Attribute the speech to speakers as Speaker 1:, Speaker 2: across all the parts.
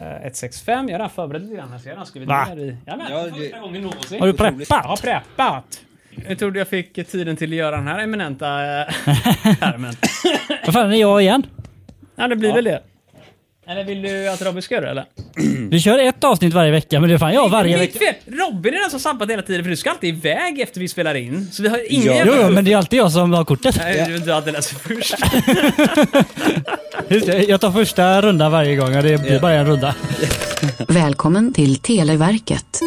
Speaker 1: Eh, 165, jag har redan förberett lite grann här så jag har redan skrivit
Speaker 2: Va?
Speaker 1: ner i... Jajamän,
Speaker 3: Ja,
Speaker 1: för första
Speaker 3: det-
Speaker 1: gången någonsin.
Speaker 2: Har du
Speaker 3: Otroligt.
Speaker 1: Jag
Speaker 2: preppat?
Speaker 1: har preppat! Jag trodde jag fick tiden till att göra den här eminenta eh, härmen.
Speaker 2: Vad fan är jag igen?
Speaker 1: Ja, det blir väl det. Eller vill du att Robin ska göra det eller?
Speaker 2: Vi kör ett avsnitt varje vecka, men det är fan jag varje
Speaker 1: Mitt
Speaker 2: vecka.
Speaker 1: fel! Robin är den som sabbat hela tiden för du ska alltid iväg efter vi spelar in. Så vi har ingen
Speaker 3: Ja.
Speaker 2: Jo,
Speaker 1: jävla...
Speaker 2: jo, men det är alltid jag som har kortet.
Speaker 1: Nej, du- du hade läst först.
Speaker 2: Just det, Jag tar första rundan varje gång och det blir
Speaker 3: Ja.
Speaker 2: bara en runda.
Speaker 4: Välkommen till Televerket.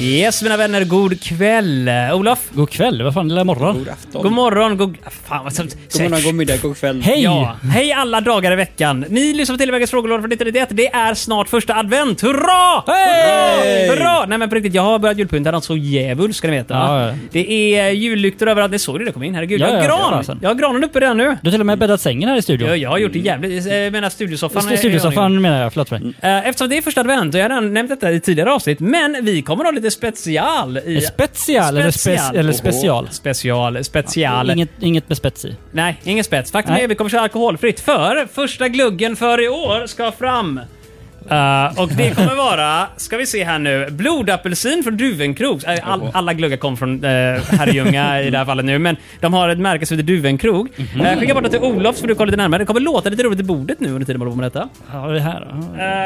Speaker 1: Yes mina vänner, god kväll. Eh, Olof?
Speaker 2: God kväll, vad fan, lilla morgon.
Speaker 3: God afton.
Speaker 1: God morgon, god... ah, Fan vad sant.
Speaker 3: God morgon, god middag, god kväll.
Speaker 2: Hej!
Speaker 1: Ja, hej alla dagar i veckan. Ni lyssnar på Televerkets frågelåda från 1991. Det är snart första advent. Hurra!
Speaker 2: Hej!
Speaker 1: Hurra! Hurra! Nej men på riktigt, jag har börjat julpynta något så djävulskt ska ni veta.
Speaker 2: Ja, ja.
Speaker 1: Det är jullyktor överallt. Ni såg det, det kom in. Herregud.
Speaker 2: Ja,
Speaker 1: jag har
Speaker 2: ja, alltså.
Speaker 1: gran.
Speaker 2: ja, fasen.
Speaker 1: jag har granen uppe redan nu.
Speaker 2: Du har till och med bäddat sängen här i studion.
Speaker 1: Jag, jag har gjort det jävligt... Jag menar studiosoffan. är- är i ordning.
Speaker 2: Studiosoffan menar jag, förlåt mig.
Speaker 1: Eh, Eftersom det är första advent, och jag har redan nämnt detta i tidigare avsnitt, men vi kommer ha lite special i...
Speaker 2: Special eller,
Speaker 1: Special.
Speaker 2: spe- eller special?
Speaker 1: Special, special.
Speaker 2: Inget, inget med spets i.
Speaker 1: Nej, ingen spets. Faktum
Speaker 2: Nej.
Speaker 1: är vi kommer köra alkoholfritt för första gluggen för i år ska fram. Eh, och det kommer vara, ska vi se här nu, blodapelsin från Duvenkrog. Eh, All, alla gluggar kom från uh, Herrljunga i det här fallet nu, men de har ett märke som heter Duvenkrog.
Speaker 2: Mhm.
Speaker 1: Eh, skicka bort det till Olof så får du kolla lite närmare. Det kommer låta lite roligt i bordet nu under tiden man håller på med detta.
Speaker 2: Ja, det här. ja.
Speaker 1: Eh,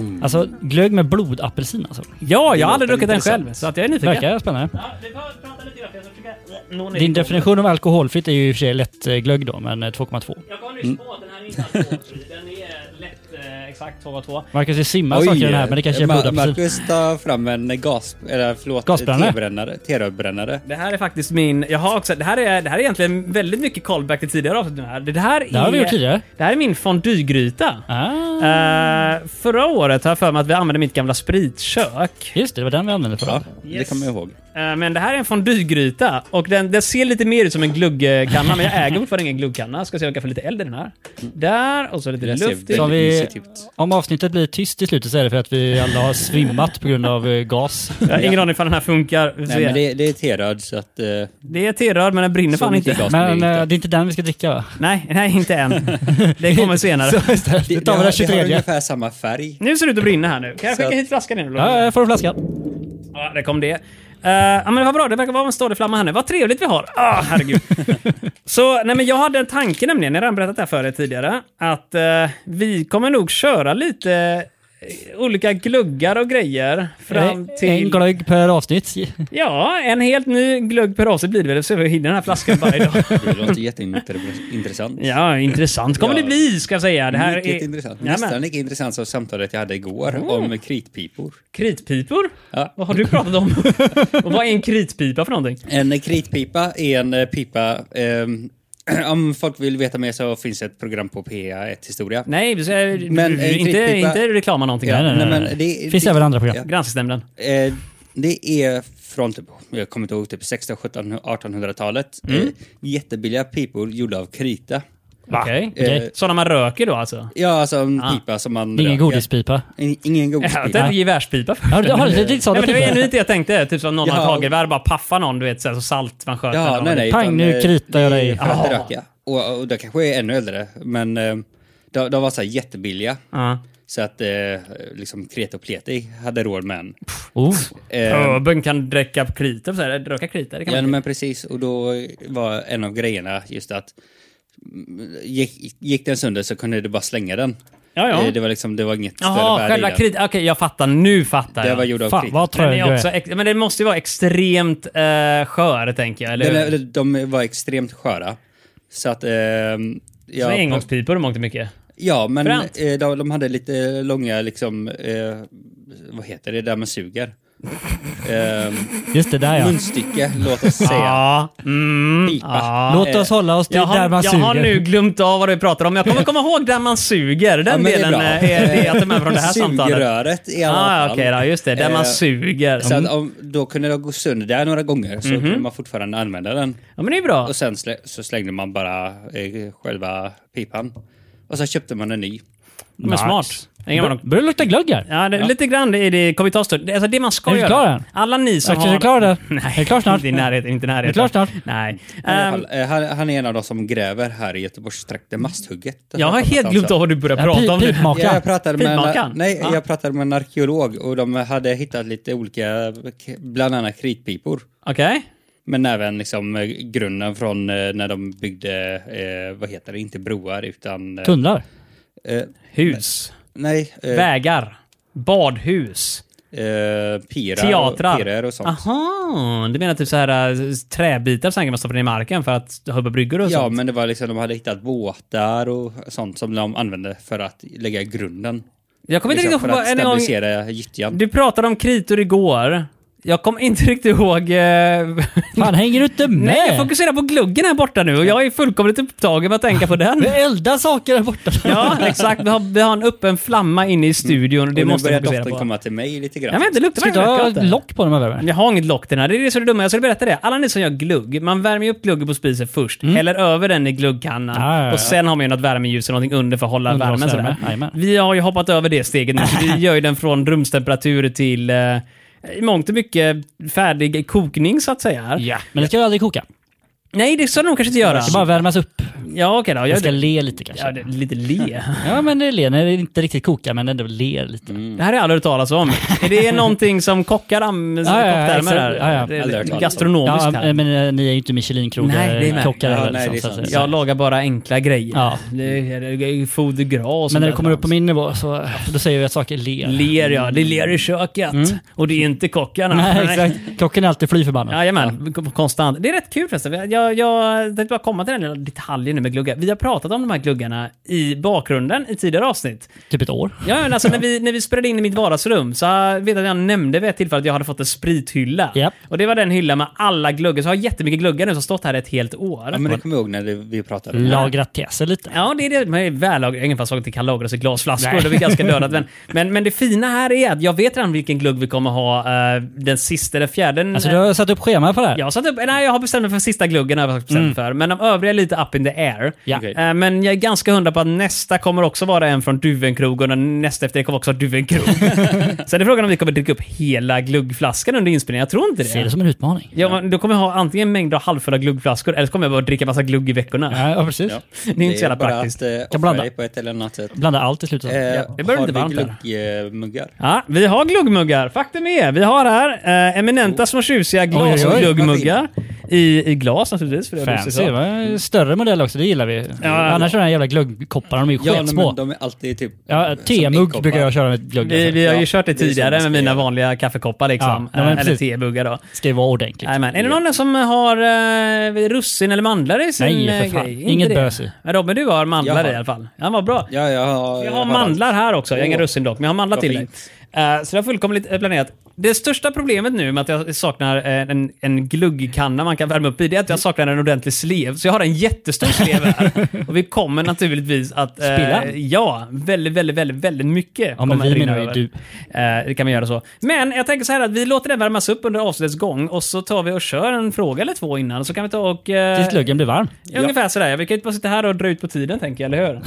Speaker 2: Mm. Alltså, glögg med blodapelsin alltså.
Speaker 1: ja, jag har aldrig
Speaker 3: låter
Speaker 1: druckit den
Speaker 3: intressant.
Speaker 1: själv, så att jag är nyfiken.
Speaker 2: Verkar spännande.
Speaker 1: Ja, vi får prata lite grann, för jag ska försöka nå ner
Speaker 2: Din
Speaker 1: i bordet.
Speaker 2: definition av alkoholfritt är ju i och för sig lätt eh, glögg då, men eh, 2,2.
Speaker 1: Jag kom nyss på att den här är inte alkoholfri. Den är lätt eh, exakt 2,2.
Speaker 2: Marcus det simmar saker i den här, men det kanske är
Speaker 3: Ma-
Speaker 2: blodapelsin.
Speaker 3: eh, Marcus tar fram en gas... Eller förlåt,
Speaker 2: Gasbrännare.
Speaker 3: tebrännare. T-rödbrännare.
Speaker 1: Det här är faktiskt min... Jag har också, det, här är, det här är egentligen väldigt mycket callback till tidigare avsnitt. nu Här. Det, här är,
Speaker 2: Det här har vi gjort tidigare.
Speaker 1: Det här är min fondygryta.
Speaker 2: Ah,
Speaker 1: Eh, förra året har jag för mig att vi använde mitt gamla spritkök.
Speaker 2: just det, det var den vi använde förra.
Speaker 3: Ja, det
Speaker 1: Yes.
Speaker 3: kommer jag ihåg.
Speaker 1: Eh, men det här är en fondygryta och den, den ser lite mer ut som en glöggkanna. men jag äger fortfarande ingen glöggkanna. Ska se om jag kan få lite eld i den här. Där och så lite
Speaker 3: Det ser
Speaker 1: luft i.
Speaker 2: Så
Speaker 3: väldigt
Speaker 2: om, vi,
Speaker 3: mysigt ut.
Speaker 2: om avsnittet blir tyst i slutet så är det för att vi alla har svimmat på grund av eh, gas.
Speaker 1: Jag har ingen aning ifall den här funkar. Vi får
Speaker 3: Nej,
Speaker 1: se.
Speaker 3: men
Speaker 1: det,
Speaker 3: det, det är T-röd så att... eh,
Speaker 1: är terör men den brinner
Speaker 3: så
Speaker 1: fan
Speaker 3: mycket
Speaker 1: inte.
Speaker 3: gas blir det
Speaker 2: Men eh,
Speaker 3: inte.
Speaker 2: det är inte den vi ska dricka va?
Speaker 1: Nej, nej, inte än. Det kommer senare.
Speaker 2: Så istället, vi
Speaker 3: Det, det,
Speaker 2: tar vi
Speaker 3: har,
Speaker 2: den
Speaker 3: det har
Speaker 2: 23.
Speaker 3: ungefär samma färg.
Speaker 1: Nu ser det ut att brinna här nu. Kan jag
Speaker 3: Så
Speaker 1: skicka
Speaker 3: att-
Speaker 1: hit flaskan nu? Lotta?
Speaker 2: Ja, jag får en flaska.
Speaker 1: Ja, där kom det. Eh, ja, men vad bra, det verkar vara en stadig flamma här nu. Vad trevligt vi har! Ah, herregud. så, nej, men jag hade en tanke nämligen, jag har redan berättat det här för er tidigare, att eh, vi kommer nog köra lite eh, olika gluggar och grejer
Speaker 3: Eh,
Speaker 1: fram
Speaker 2: En- Eh, En
Speaker 1: till...
Speaker 2: glögg per avsnitt.
Speaker 1: ja, en helt ny glugg per avsnitt blir det väl, så vi hinner den här flaskan varje dag.
Speaker 3: Det låter jätteintressant.
Speaker 1: ja, intressant kommer
Speaker 3: Ja.
Speaker 1: det bli, ska jag säga. Det här
Speaker 3: Mycket
Speaker 1: är...
Speaker 3: intressant.
Speaker 1: Nästan.
Speaker 3: Nästan lika intressant som samtalet jag hade igår
Speaker 2: Oh.
Speaker 3: om kritpipor.
Speaker 1: Kritpipor?
Speaker 3: Ja.
Speaker 1: Vad har du pratat om? och vad är en kritpipa för någonting?
Speaker 3: En kritpipa är en eh, pipa... ehm, om folk vill veta mer så finns ett program på PA1 Historia.
Speaker 1: Nej, vi ska-
Speaker 3: Men en
Speaker 1: inte,
Speaker 3: kritpipa-
Speaker 1: inte reklama någonting.
Speaker 3: Ja,
Speaker 1: här.
Speaker 2: nej, nej,
Speaker 3: men
Speaker 2: nej.
Speaker 3: det-
Speaker 2: Finns
Speaker 3: det-
Speaker 2: även andra program.
Speaker 3: Ja.
Speaker 1: Granskningsnämnden.
Speaker 3: Eh, det är från typ, jag kommer inte ihåg, typ 16, 17, 1800-talet.
Speaker 2: Mm.
Speaker 3: Eh, jättebilliga pipor gjorda av krita.
Speaker 1: Okej.
Speaker 2: Okej.
Speaker 1: Sådana man röker då alltså?
Speaker 3: Eh. Ja, alltså en
Speaker 1: Ah.
Speaker 3: pipa som man...
Speaker 2: Det är ingen
Speaker 3: röker.
Speaker 2: godispipa.
Speaker 3: In, ingen
Speaker 1: Jag
Speaker 3: godispipa.
Speaker 1: tänkte gevärspipa först.
Speaker 2: Ja, du har det, det sa
Speaker 1: Nej,
Speaker 2: du
Speaker 1: men det var
Speaker 2: tidigare.
Speaker 1: genuint det jag tänkte. Typ som någon
Speaker 3: Ja.
Speaker 1: har hagelgevär bara paffar någon, du vet, så här, så salt man sköt.
Speaker 3: Ja,
Speaker 1: eller
Speaker 3: nej,
Speaker 1: något.
Speaker 3: nej.
Speaker 2: Pang,
Speaker 3: utan,
Speaker 2: nu
Speaker 3: eh,
Speaker 2: kritar jag dig.
Speaker 3: För att
Speaker 1: Ah.
Speaker 3: röka. Och, och det kanske är ännu äldre, men eh, de, de var så här jättebilliga.
Speaker 1: Ja.
Speaker 3: Så att eh, liksom Kreta och Pleti hade råd med en.
Speaker 2: Oh.
Speaker 3: Eh,
Speaker 1: Öben kan dricka krita, så här, röka krita. Det kan
Speaker 3: ja,
Speaker 1: man.
Speaker 3: men precis. Och då var en av grejerna just att mm, gick, gick den sönder så kunde du bara slänga den.
Speaker 1: Ja, ja.
Speaker 3: Eh, Det var liksom, det var inget
Speaker 1: Jaha,
Speaker 3: större
Speaker 1: själva
Speaker 3: värde i den.
Speaker 1: krita. Okej, jag fattar. Nu fattar
Speaker 3: Det
Speaker 1: jag.
Speaker 3: var gjord av
Speaker 2: Fan
Speaker 3: krita.
Speaker 2: vad
Speaker 1: Den
Speaker 2: trög
Speaker 1: är
Speaker 2: du
Speaker 1: också
Speaker 2: är.
Speaker 1: ex- men det måste ju vara extremt eh, skör, tänker jag. Eller
Speaker 3: Den,
Speaker 1: hur?
Speaker 3: är- de var extremt sköra. Så att...
Speaker 1: Så
Speaker 3: Eh,
Speaker 1: det är
Speaker 3: ja,
Speaker 1: engångspipor och mångt och mycket.
Speaker 3: ja, men
Speaker 1: Fränt.
Speaker 3: eh, de, de hade lite långa liksom... Eh, vad heter det där man suger? Ehm,
Speaker 2: Just det, där ja.
Speaker 3: Munstycke, låt oss säga.
Speaker 1: Ja. Mm,
Speaker 3: Pipa.
Speaker 1: ja.
Speaker 2: Låt oss hålla oss till
Speaker 1: Jag har,
Speaker 2: där man
Speaker 1: jag
Speaker 2: suger.
Speaker 1: har nu glömt av vad vi pratar om. Jag kommer komma ihåg där man suger. Den
Speaker 3: Ja, men det är
Speaker 1: delen
Speaker 3: bra.
Speaker 1: eh, är, det jag tar med från det här samtalet.
Speaker 3: Sugröret i alla
Speaker 1: Ah,
Speaker 3: fall.
Speaker 1: Okej då, just det. Där
Speaker 3: Eh,
Speaker 1: man suger. Mm.
Speaker 3: Så att om, då kunde det gå sönder där några gånger så
Speaker 1: Mhm.
Speaker 3: kunde man fortfarande använda den.
Speaker 1: Ja men det är bra.
Speaker 3: Och sen slä, så slängde man bara eh, själva pipan. Och så köpte man en ny.
Speaker 1: Men smart. Ingen aning.
Speaker 2: Bör- Börjar det lukta glugg här?
Speaker 1: Ja, det, lite grann i det kommer ta stund. Alltså det man ska
Speaker 2: Är du
Speaker 1: göra.
Speaker 2: klar än?
Speaker 1: Alla ni som
Speaker 2: Akta, är
Speaker 1: har...
Speaker 2: du klar där?
Speaker 1: Nej,
Speaker 2: Är du klar snart?
Speaker 1: inte i närheten. Inte i närheten.
Speaker 2: Är du klar snart?
Speaker 1: Nej.
Speaker 3: I alla
Speaker 1: Ehm,
Speaker 3: fall, eh, han, han är en av de som gräver här i Göteborgstrakten, Masthugget.
Speaker 1: jag har helt glömt av vad du började
Speaker 2: Ja,
Speaker 1: prata
Speaker 2: pi-
Speaker 1: om nu.
Speaker 2: pipmak.
Speaker 3: Ja, jag pratade med, en,
Speaker 1: Filmakaren?
Speaker 3: nej,
Speaker 1: Ja.
Speaker 3: jag pratade med en arkeolog och de hade hittat lite olika, k- bland annat kritpipor.
Speaker 1: Okej.
Speaker 3: Men även liksom eh, grunden från eh, när de byggde, eh, vad heter det, inte broar utan... eh,
Speaker 2: Tunnlar?
Speaker 3: Eh,
Speaker 1: Hus.
Speaker 3: nej, eh,
Speaker 1: Vägar. Badhus.
Speaker 3: eh, pirar,
Speaker 1: Teatrar.
Speaker 3: Och, pirer och sånt.
Speaker 1: Aha, du menar typ så här äh, träbitar som man stoppar ner i marken för att hubba bryggor och
Speaker 3: Ja,
Speaker 1: sånt?
Speaker 3: men det var liksom, de hade hittat båtar och sånt som de använde för att lägga grunden.
Speaker 1: Jag kommer inte
Speaker 3: Liksom,
Speaker 1: riktigt
Speaker 3: för
Speaker 1: ihåg,
Speaker 3: att
Speaker 1: en gång,
Speaker 3: stabilisera gyttjan.
Speaker 1: du pratade om kritor igår. Jag kommer inte riktigt ihåg... eh,
Speaker 2: Fan, hänger du inte med?
Speaker 1: Nej, jag fokuserar på gluggen här borta nu och jag är fullkomligt upptagen med att tänka på den.
Speaker 2: Vi eldar saker här borta.
Speaker 1: Ja, exakt. Vi har, vi har en öppen flamma inne i studion och det
Speaker 3: och nu
Speaker 1: måste
Speaker 3: börjar
Speaker 1: jag fokusera
Speaker 3: doften
Speaker 1: på.
Speaker 3: komma till mig lite grann.
Speaker 1: Jag vet inte, det luktar
Speaker 2: Ska vi ta
Speaker 1: verkligen gott.
Speaker 2: lock på dem här värmen?
Speaker 1: Jag har inget lock till den här. Det är det som är det dumma. Jag skulle berätta det. Alla ni som gör glugg, man värmer ju upp gluggen på spisen först, häller över den i gluggkannan
Speaker 2: Mm. Ja, ja, ja.
Speaker 1: och sen har man ju något värmeljus eller någonting under för att hålla värmen.
Speaker 2: Underlagsvärme.
Speaker 1: Sådär.
Speaker 2: Jajamän.
Speaker 1: Vi har ju hoppat över det steget nu. så Vi gör ju den från rumstemperatur till eh, i mångt och mycket färdig kokning så att säga. här.
Speaker 2: Ja, men det ska ju aldrig koka.
Speaker 1: Nej, det ska de kanske inte göra.
Speaker 2: Det ska bara värmas upp.
Speaker 1: Ja, okej då.
Speaker 2: Jag
Speaker 1: Jag
Speaker 2: ska le lite kanske.
Speaker 1: ja, det, lite le.
Speaker 2: Ja, men det är le. Nej, det är inte riktigt koka, men ändå ler lite.
Speaker 1: Det här har jag aldrig hört talas om. Är det någonting som kockar använder?
Speaker 2: Ja, ja, ja,
Speaker 1: kocktermer
Speaker 2: exakt.
Speaker 1: här?
Speaker 2: Ja, ja.
Speaker 1: Det är
Speaker 3: Aldrig hört talas om.
Speaker 1: gastronomiskt
Speaker 2: Ja,
Speaker 1: här.
Speaker 2: men eh, ni är ju inte
Speaker 1: Nej, det är med.
Speaker 2: Michelin-krokar
Speaker 3: Ja,
Speaker 2: heller.
Speaker 3: nej,
Speaker 2: liksom,
Speaker 3: det är
Speaker 2: så att
Speaker 3: sant.
Speaker 2: säga.
Speaker 1: Jag lagar bara enkla grejer.
Speaker 2: Ja.
Speaker 1: Det, det, det, foder gras och
Speaker 2: Men när det
Speaker 1: sånt
Speaker 2: kommer
Speaker 1: där
Speaker 2: upp på min nivå så då säger vi att saker ler.
Speaker 1: dans. Ler ja, det är ler i köket. Och det är inte kockarna.
Speaker 2: Mm. Nej, exakt. Klockan är alltid fly förbannad.
Speaker 1: Jajamän, ja. konstant. Det är rätt kul förresten. Jag, jag tänkte bara komma till den lilla detaljen nu med gluggar. Vi har pratat om de här gluggarna i bakgrunden i tidigare avsnitt.
Speaker 2: Typ ett år.
Speaker 1: Ja, men alltså när vi, när vi spelade in i mitt vardagsrum så jag vet jag att jag nämnde vid ett tillfälle att jag hade fått en sprithylla.
Speaker 2: Japp.
Speaker 1: Och det var den hyllan med alla gluggar. Så jag har jättemycket gluggar nu som har stått här ett helt år.
Speaker 3: Ja, men det kommer jag ihåg när det, vi pratade om det.
Speaker 2: Lagrat till sig lite.
Speaker 1: Ja, det är det. Men vällagrad. Ingen fast det kan lagras i glasflaskor.
Speaker 2: Nej.
Speaker 1: Det är ganska dödat. Men, men, men det fina här är att jag vet redan vilken glugg vi kommer ha eh, den sista eller fjärde.
Speaker 2: Alltså du har satt upp schema på det här.
Speaker 1: jag, har satt upp, nej, jag har bestämt mig för sista gluggen. Har jag bestämt mig för, men de övriga är lite up in the air.
Speaker 2: Mm. Ja.
Speaker 3: Okej.
Speaker 1: Eh, men jag är ganska hundra på att nästa kommer också vara en från Duvenkrog och den nästa efter det kommer också vara Duvenkrog. Sen är frågan om vi kommer dricka upp hela gluggflaskan under inspelningen. Jag tror inte
Speaker 2: Ser det
Speaker 1: det.
Speaker 2: som en utmaning.
Speaker 1: Ja, men då kommer jag ha antingen mängder av halvfulla gluggflaskor eller så kommer jag bara dricka massa glugg i veckorna.
Speaker 2: Ja, ja precis.
Speaker 3: Ja.
Speaker 1: Det är inte så jävla praktiskt.
Speaker 3: Det är bara att
Speaker 2: Kan blanda.
Speaker 3: eh, offra dig på ett eller annat sätt.
Speaker 2: Blanda allt i slutet.
Speaker 3: Eh,
Speaker 1: det börjar
Speaker 3: har
Speaker 1: bli varmt
Speaker 3: vi eh,
Speaker 1: här.
Speaker 3: glöggmuggar?
Speaker 1: Ja, vi har gluggmuggar. Faktum är, vi har här eh, eminenta små tjusiga
Speaker 2: Oh. Oj, oj, oj.
Speaker 1: glasgluggmuggar. I, I glas naturligtvis. För det var lustigt
Speaker 2: Fancy.
Speaker 1: så.
Speaker 2: va? Större modell också, det gillar vi. Annars är de här jävla glöggkopparna, de är ju
Speaker 3: Ja, nej,
Speaker 2: sketsmå.
Speaker 3: men de är alltid typ...
Speaker 2: Ja,
Speaker 3: som
Speaker 2: Temugg
Speaker 3: inkoppar.
Speaker 2: brukar jag köra med glögg.
Speaker 1: vi, vi har ju
Speaker 3: Ja,
Speaker 1: kört det
Speaker 3: det är så
Speaker 1: tidigare
Speaker 3: man ska
Speaker 1: med mina
Speaker 3: göra.
Speaker 1: vanliga kaffekoppar liksom.
Speaker 2: Ja, nej, men
Speaker 1: Eh, eller
Speaker 2: precis.
Speaker 1: tebuggar då.
Speaker 2: Ska ju vara ordentligt.
Speaker 1: Jajamän. Är det någon som har eh, russin eller mandlar i sin
Speaker 2: Nej, för
Speaker 1: eh,
Speaker 2: fan.
Speaker 1: grej?
Speaker 2: Inget
Speaker 1: det.
Speaker 2: bös i.
Speaker 1: Men Robin, du har mandlar
Speaker 3: Jag har.
Speaker 1: i alla fall. Ja, vad bra.
Speaker 3: Ja, jag har...
Speaker 1: Jag har mandlar här också. Jag har ingen
Speaker 3: Åh.
Speaker 1: russin dock, men jag har mandlar
Speaker 3: Vad
Speaker 1: till dig.
Speaker 3: fint.
Speaker 1: Eh, så det har fullkomligt eh, planerat. Det största problemet nu med att jag saknar eh, en, en gluggkanna man kan värma upp i, det är att jag saknar en ordentlig slev. Så jag har en jättestor slev här. Och vi kommer naturligtvis att... eh,
Speaker 2: Spilla?
Speaker 1: Ja, väldigt, väldigt, väldigt, väldigt mycket.
Speaker 2: Ja, men
Speaker 1: kommer
Speaker 2: vi
Speaker 1: att rinna
Speaker 2: menar ju
Speaker 1: över.
Speaker 2: du.
Speaker 1: Eh, det kan man göra så. Men jag tänker så här att vi låter den värmas upp under avsnittets gång och så tar vi och kör en fråga eller två innan. Så kan vi ta och... eh,
Speaker 2: Tills glöggen blir varm.
Speaker 1: ja, Ungefär sådär. Vi kan ju inte bara sitta här och dra ut på tiden, tänker jag, eller hur?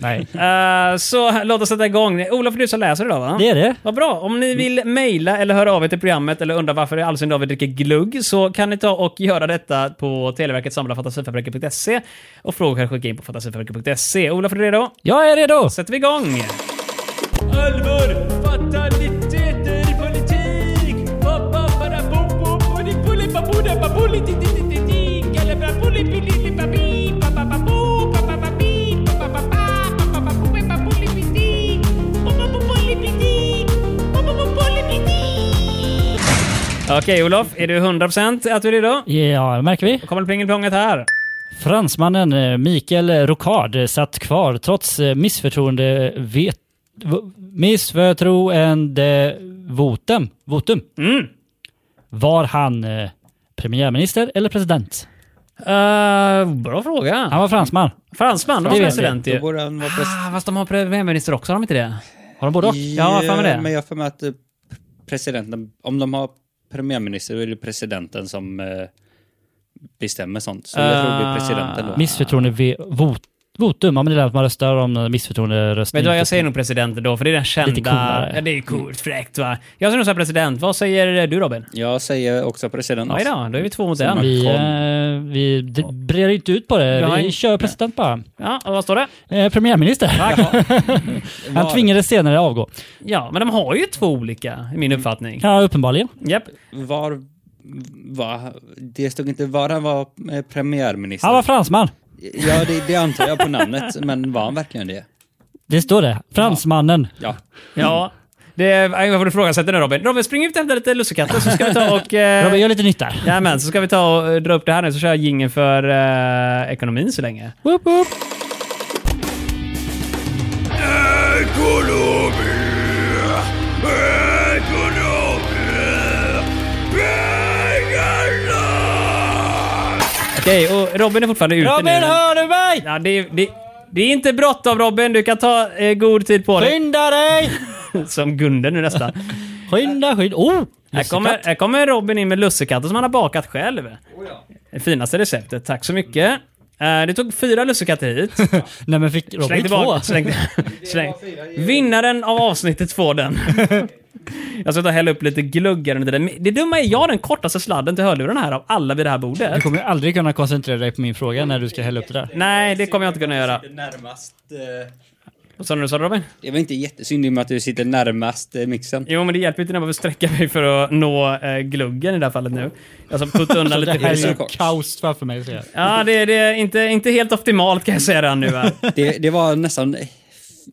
Speaker 2: Nej.
Speaker 1: Eh, så låt oss sätta igång. Olof, du som läser idag va?
Speaker 2: Det är det.
Speaker 1: Vad bra. Om ni vill mejla eller höra av er till programmet eller undra varför i all sin dag vi dricker glugg så kan ni ta och göra detta på Televerket samla fantasifabriken.se och frågor kan skicka in på fantasifabriken.se. Olof, är du redo?
Speaker 2: Jag är redo!
Speaker 1: sätter vi igång! Allvar, fataliteter, politik! Okej Olof, är du 100% att du är redo?
Speaker 2: Ja, märker vi.
Speaker 1: Då kommer plingelplånget här.
Speaker 2: Fransmannen eh, Mikael Rocard eh, satt kvar trots eh, missförtroende vet, v- missförtroende Votum, Votum.
Speaker 1: Mm.
Speaker 2: Var han eh, premiärminister eller president?
Speaker 1: Eh, bra fråga.
Speaker 2: Han var fransman.
Speaker 1: Fransman, de har
Speaker 2: Det vet
Speaker 1: president
Speaker 3: Då
Speaker 1: ju.
Speaker 3: borde han vara pres-
Speaker 1: Ah, fast de har premiärminister också, har de inte det?
Speaker 2: Har de både och?
Speaker 1: jag har för mig det.
Speaker 3: Men jag har för mig att eh, presidenten, om de har premiärminister, då är det presidenten som eh, bestämmer sånt. Så jag tror
Speaker 2: Ah.
Speaker 3: det blir presidenten
Speaker 1: Ah.
Speaker 3: då.
Speaker 2: Missförtroende v- vot, votum, ja men det är där att man röstar om eh, missförtroenderöstning.
Speaker 1: Men då, jag säger nog president då, för det är den kända...
Speaker 2: coolare.
Speaker 1: Ja, det är coolt, fräckt va. Jag säger nog så här president. Vad säger du Robin?
Speaker 3: Jag säger också president.
Speaker 1: Ja, idag, då är vi två mot en.
Speaker 2: Vi, eh, vi d- brer inte ut på det.
Speaker 1: Nej.
Speaker 2: Vi kör president bara.
Speaker 1: Ja, och vad står det?
Speaker 2: Eh, premiärminister. Han
Speaker 3: Var-
Speaker 2: tvingades senare avgå.
Speaker 1: Ja, men de har ju två olika, i min uppfattning.
Speaker 2: Ja, uppenbarligen.
Speaker 1: Japp.
Speaker 3: Var, var, det stod inte var han var eh, premiärminister.
Speaker 2: Han var fransman.
Speaker 3: Ja, det, det antar jag på namnet, men var han verkligen det?
Speaker 2: Det står det. Fransmannen.
Speaker 3: Ja.
Speaker 1: Ja. Det är, jag får ifrågasätta nu Robin. Robin, spring ut och hämta lite lussekatter så ska vi ta och... Eh,
Speaker 2: Robin, gör lite nytt där.
Speaker 1: Jajamän, så ska vi ta och eh, dra upp det här nu så kör jag jingeln för eh, ekonomin så länge.
Speaker 2: Woop, woop.
Speaker 1: Okej, och Robin är fortfarande ute nu.
Speaker 2: Robin, hör du mig?
Speaker 1: Ja, det, är- det, det är inte bråttom Robin, du kan ta eh, god tid på dig.
Speaker 2: Skynda dig!
Speaker 1: Som Gunde nu nästan.
Speaker 2: Skynda, skynda. Oh!
Speaker 1: Här kommer, här kommer Robin in med lussekatter som han har bakat
Speaker 2: Oh
Speaker 1: själv. Det finaste receptet, tack så mycket. Eh, det tog fyra lussekatter hit.
Speaker 2: Nej men fick
Speaker 1: Släng
Speaker 2: Robin två?
Speaker 1: tillbaka. Släng, släng. Vinnaren av avsnittet får den. Jag ska ta och hälla upp lite glugg här under den. Det dumma är jag har den kortaste sladden till hörlurarna här av alla vid det här
Speaker 2: Du
Speaker 1: bordet.
Speaker 2: kommer ju aldrig kunna koncentrera dig på min fråga när du ska hälla upp det där.
Speaker 1: Nej, det kommer jag inte kunna göra.
Speaker 3: Närmast, eh,
Speaker 1: Vad sa du nu, sa du, Robin?
Speaker 3: det var inte jättesynd i och med att du sitter närmast eh, mixen.
Speaker 1: Jo, men det hjälper inte när jag behöver sträcka mig för att nå eh, gluggen i det här fallet nu. Jag ska putta undan
Speaker 2: Det
Speaker 1: lite
Speaker 2: här är
Speaker 1: skit.
Speaker 2: ju
Speaker 3: kort.
Speaker 2: kaos framför mig. ser jag.
Speaker 1: Ja, det, det är inte, inte helt optimalt kan jag säga redan nu. va?
Speaker 3: Det, det var nästan